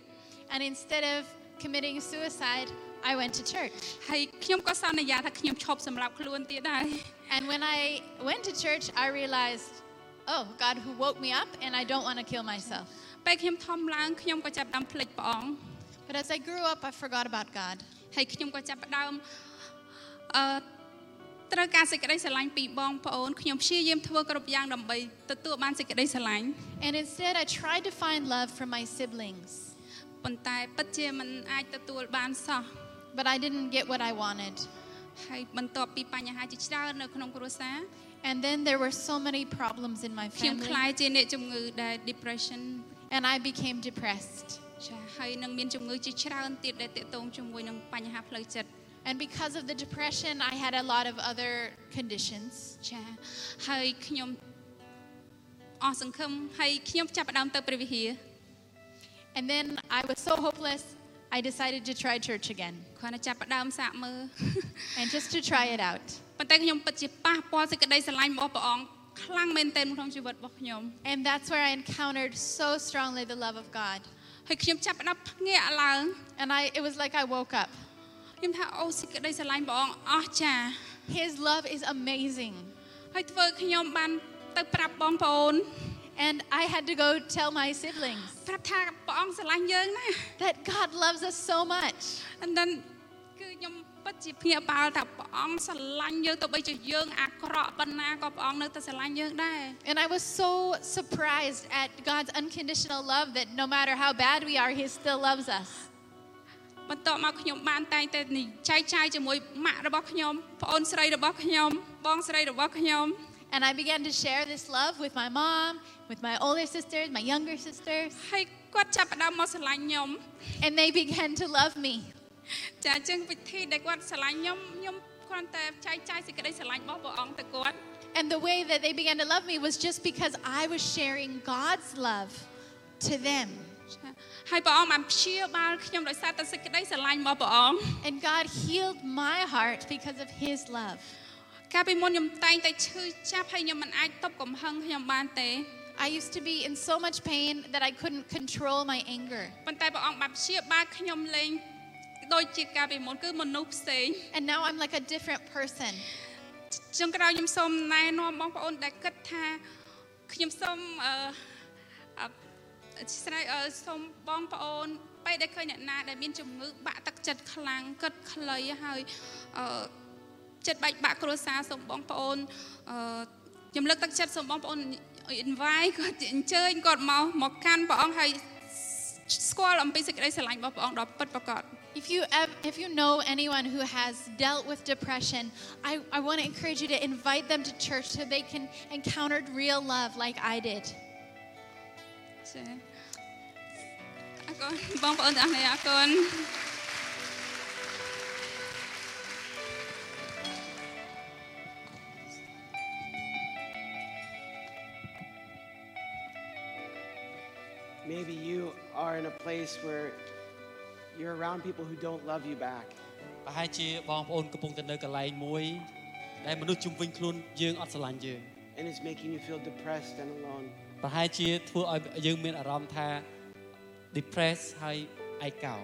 S8: And instead of committing suicide, I went to church.
S7: ហើយខ្ញុំក៏សន្យាថាខ្ញុំឈប់សម្រាប់ខ្លួនទៀតដែរ
S8: And when I went to church, I realized, oh, God who woke me up, and I don't want to kill myself.
S7: ពេលខ្ញុំធំឡើងខ្ញុំក៏ចាប់ផ្ដើមភ្លេចព្រះអង្គ
S8: But as I grew up, I forgot about God.
S7: ហើយខ្ញុំក៏ចាប់ផ្ដើមអឺត្រូវការសេចក្តីស្រឡាញ់ពីបងប្អូនខ្ញុំព្យាយាមធ្វើគ្រប់យ៉ាងដើម្បីទទួលបានសេចក្តីស្រឡាញ់
S8: And instead, I tried to find love from my siblings,
S7: ប៉ុន្តែពិតជាมันអាចទទួលបានសោះ
S8: but I didn't get what I wanted.
S7: ហើយបន្ទាប់ពីបញ្ហាជាច្រើននៅក្នុងគ្រួសារ
S8: And then there were so many problems in my
S7: ខ្ញុំខ្លាយ
S8: family,
S7: ជាអ្នកជំងឺដែល depression
S8: and I became depressed.
S7: ចា៎ហើយនឹងមានជំងឺជាច្រើនទៀតដែលទាក់ទងជាមួយនឹងបញ្ហាផ្លូវចិត្ត
S8: And because of the depression, I had a lot of other conditions.
S7: ចាហើយខ្ញុំអស់សង្ឃឹមហើយខ្ញុំចាប់ផ្ដើមទៅព្រះវិហារ
S8: And then I was so hopeless, I decided to try church again
S7: គ្រាន់តែចាប់ផ្ដើមសាកមើល
S8: and just to try it out.
S7: ប៉ុន្តែខ្ញុំពិតជាប៉ះពាល់សេចក្តីស្រឡាញ់របស់ព្រះអង្គខ្លាំងមែនទែនក្នុងជីវិតរបស់ខ្ញុំ
S8: And that's where I encountered so strongly the love of God.
S7: ហើយខ្ញុំចាប់ផ្ដើមភ្ញាក់ឡើង
S8: And I, it was like I woke up.
S7: ខ្ញុំថាអូសេចក្តីស្រឡាញ់ព្រះអង្គអស្ចារ្យ
S8: His love is amazing.
S7: ហើយធ្វើខ្ញុំបានទៅប្រាប់បងប្អូន
S8: And I had to go tell my siblings
S7: ប្រាប់ថាព្រះអង្គស្រឡាញ់យើងណា
S8: that God loves us so much.
S7: អណ្ដឹងគឺខ្ញុំពិតជាភ្ញាក់ផ្អើលថាព្រះអង្គស្រឡាញ់យើងទោះបីជាយើងអាក្រក់ប៉ុណ្ណាក៏ព្រះអង្គនៅតែស្រឡាញ់យើងដែរ
S8: And I was so surprised at God's unconditional love that no matter how bad we are, He still loves us.
S7: បន្ទាប់មកខ្ញុំបានតែងតែនិយាយចែកចាយជាមួយម៉ាក់របស់ខ្ញុំប្អូនស្រីរបស់ខ្ញុំបងស្រីរបស់ខ្ញុំ
S8: And I began to share this love with my mom, with my older sisters, my younger sisters,
S7: ហើយគាត់ចាប់ផ្ដើមមកស្រឡាញ់ខ្ញុំ
S8: and they began to love me.
S7: ចាអញ្ចឹងវិធីដែលគាត់ស្រឡាញ់ខ្ញុំខ្ញុំគ្រាន់តែចែកចាយសេចក្តីស្រឡាញ់របស់ព្រះអង្គទៅគាត់
S8: And the way that they began to love me was just because I was sharing God's love to them.
S7: ចាហើយព្រះអង្គបានព្យាបាលខ្ញុំដោយសារតែសេចក្តីស្រឡាញ់របស់ព្រះអង្គ
S8: And God healed my heart because of His love.
S7: កាលពីមុនខ្ញុំតែងតែឈឺចាប់ហើយខ្ញុំមិនអាចទប់កំហឹងខ្ញុំបានទេ
S8: I used to be in so much pain that I couldn't control my anger.
S7: ប៉ុន្តែព្រះអង្គបានព្យាបាលខ្ញុំលែងដូចជាកាលពីមុនគឺមនុស្សផ្សេង
S8: And now I'm like a different person.
S7: ចុងក្រោយខ្ញុំសូមណែនាំបងប្អូនដែលគិតថាខ្ញុំសូមអឺអបអធិស្ឋានអឺសូមបងប្អូនពេលដែលឃើញអ្នកណាដែលមានជំងឺបាក់ទឹកចិត្តខ្លាំងគិតខ្លីហើយអឺចិត្តបែកបាក់គ្រួសារសូមបងប្អូនអឺខ្ញុំលើកទឹកចិត្តសូមបងប្អូន invite គាត់អញ្ជើញគាត់មកមកកាន់ព្រះអង្គហើយស្គាល់អំពីសេចក្តីស្រឡាញ់របស់ព្រះអង្គដល់ពិតប្រាកដ
S8: If you, ev- if you know anyone who has dealt with depression, I, I want to encourage you to invite them to church so they can encounter real love like I did.
S7: ចាអរគុណបងប្អូនទាំងអស់គ្នាអរគុណ
S3: Maybe you are in a place where you're around people who don't love you back.
S4: ប្រហែលជាបងប្អូនកំពុងតែនៅកន្លែងមួយ ដែលមនុស្សជំវិញខ្លួនយើងអត់ស្រឡាញ់យើង
S3: And it's making you feel depressed and alone.
S4: ប្រហែលជាធ្វើឲ្យយើងមានអារម្មណ៍ថា depress ហើយឯកោ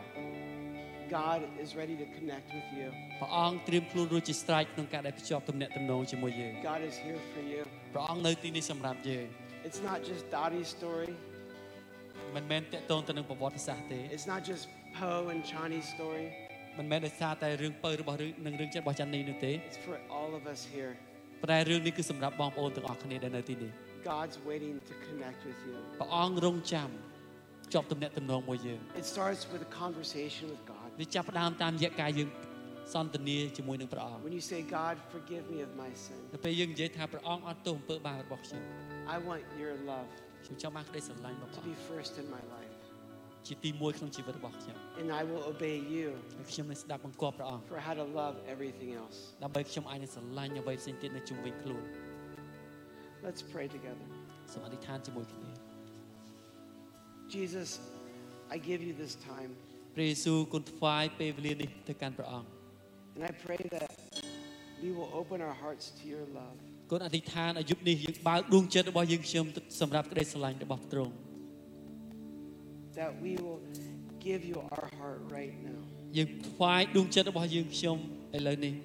S3: God is ready to connect with you.
S4: ព្រះអង្គត្រៀមខ្លួនរួចជាស្រេចក្នុងការដែលភ្ជាប់ទំនាក់ទំនងជាមួយយើង
S3: God is here for you.
S4: ព្រះអង្គនៅទីនេះសម្រាប់យើង
S3: It's not just Dottie's story.
S4: មិនមែនតកតងទៅនឹងប្រវត្តិសាស្ត្រទេ
S3: It's not just Poe and Chani's story.
S4: មិនមែនដោយសារតែរឿងពៅរបស់ឬនឹងរឿងចិត្តរបស់ចាន់នេះនោះទេ
S3: It's for all of us here.
S4: ប៉ុន្តែរឿងនេះគឺសម្រាប់បងប្អូនទាំងអស់គ្នាដែលនៅទីនេះ
S3: God's waiting to connect with you.
S4: ព្រះអង្គរង់ចាំជាប់ទំនាក់ទំនងមួយយើង
S3: It starts with a conversation with God.
S4: វាចាប់ផ្ដើមតាមរយៈការយើងសន្ទនាជាមួយនឹងព្រះអង្គ
S3: When you say, God, forgive me of my sin,
S4: នៅពេលយើងនិយាយថាព្រះអង្គអត់ទោសអំពើបាបរបស់ខ្ញុំ
S3: I want your love
S4: ខ្ញុំចង់បានក្តីស្រឡាញ់របស់ព្រះ
S3: to
S4: អ
S3: be
S4: ង្គ
S3: first in my life.
S4: ជាទីមួយក្នុងជីវិតរបស់ខ្ញុំ
S3: And I will obey you
S4: ហើយខ្ញុំនឹងស្ដាប់បង្គាប់ព្រះអង្គ
S3: for how to love everything else.
S4: ដើម្បីខ្ញុំអាចនឹងស្រឡាញ់អ្វីផ្សេងទៀតនៅជុំវិញខ្លួន
S3: Let's pray together.
S4: សូមអធិដ្ឋានជាមួយគ្នា
S3: Jesus, I give you this time,
S4: ព្រះយេស៊ូវគុណថ្វាយពេលវេលានេះទៅកាន់ព្រះអង្គ
S3: and I pray that we will open our hearts to your love.
S4: គុណអធិដ្ឋានអាយុបនេះយើងបើកដួងចិត្តរបស់យើងខ្ញុំទៅសម្រាប់ក្តីស្រឡាញ់របស់ទ្រង់
S3: that we will give you our heart right now.
S4: យើងថ្វាយដួងចិត្តរបស់យើងខ្ញុំឥឡូវនេះ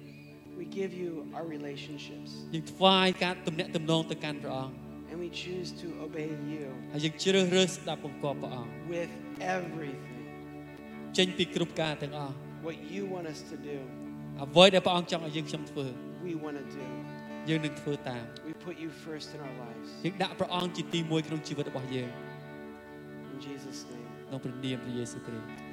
S3: We give you our relationships
S4: យើងថ្វាយការទំនាក់ទំនងទៅកាន់ព្រះអង្គ
S3: and we choose to obey you
S4: ហើយយើងជ្រើសរើសស្ដាប់បង្គាប់ព្រះអង្គ
S3: with everything,
S4: ចេញពីគ្រប់ការទាំងអស់
S3: what you want us to do.
S4: អ្វីដែលព្រះអង្គចង់ឲ្យយើងខ្ញុំធ្វើ
S3: we want to do.
S4: យើងនឹងធ្វើតាម
S3: We put you first in our lives.
S4: យើងដាក់ព្រះអង្គជាទីមួយក្នុងជីវិតរបស់យើង
S3: In Jesus' name,
S4: ក្នុងព្រះនាមព្រះយេស៊ូវគ្រីស្ទ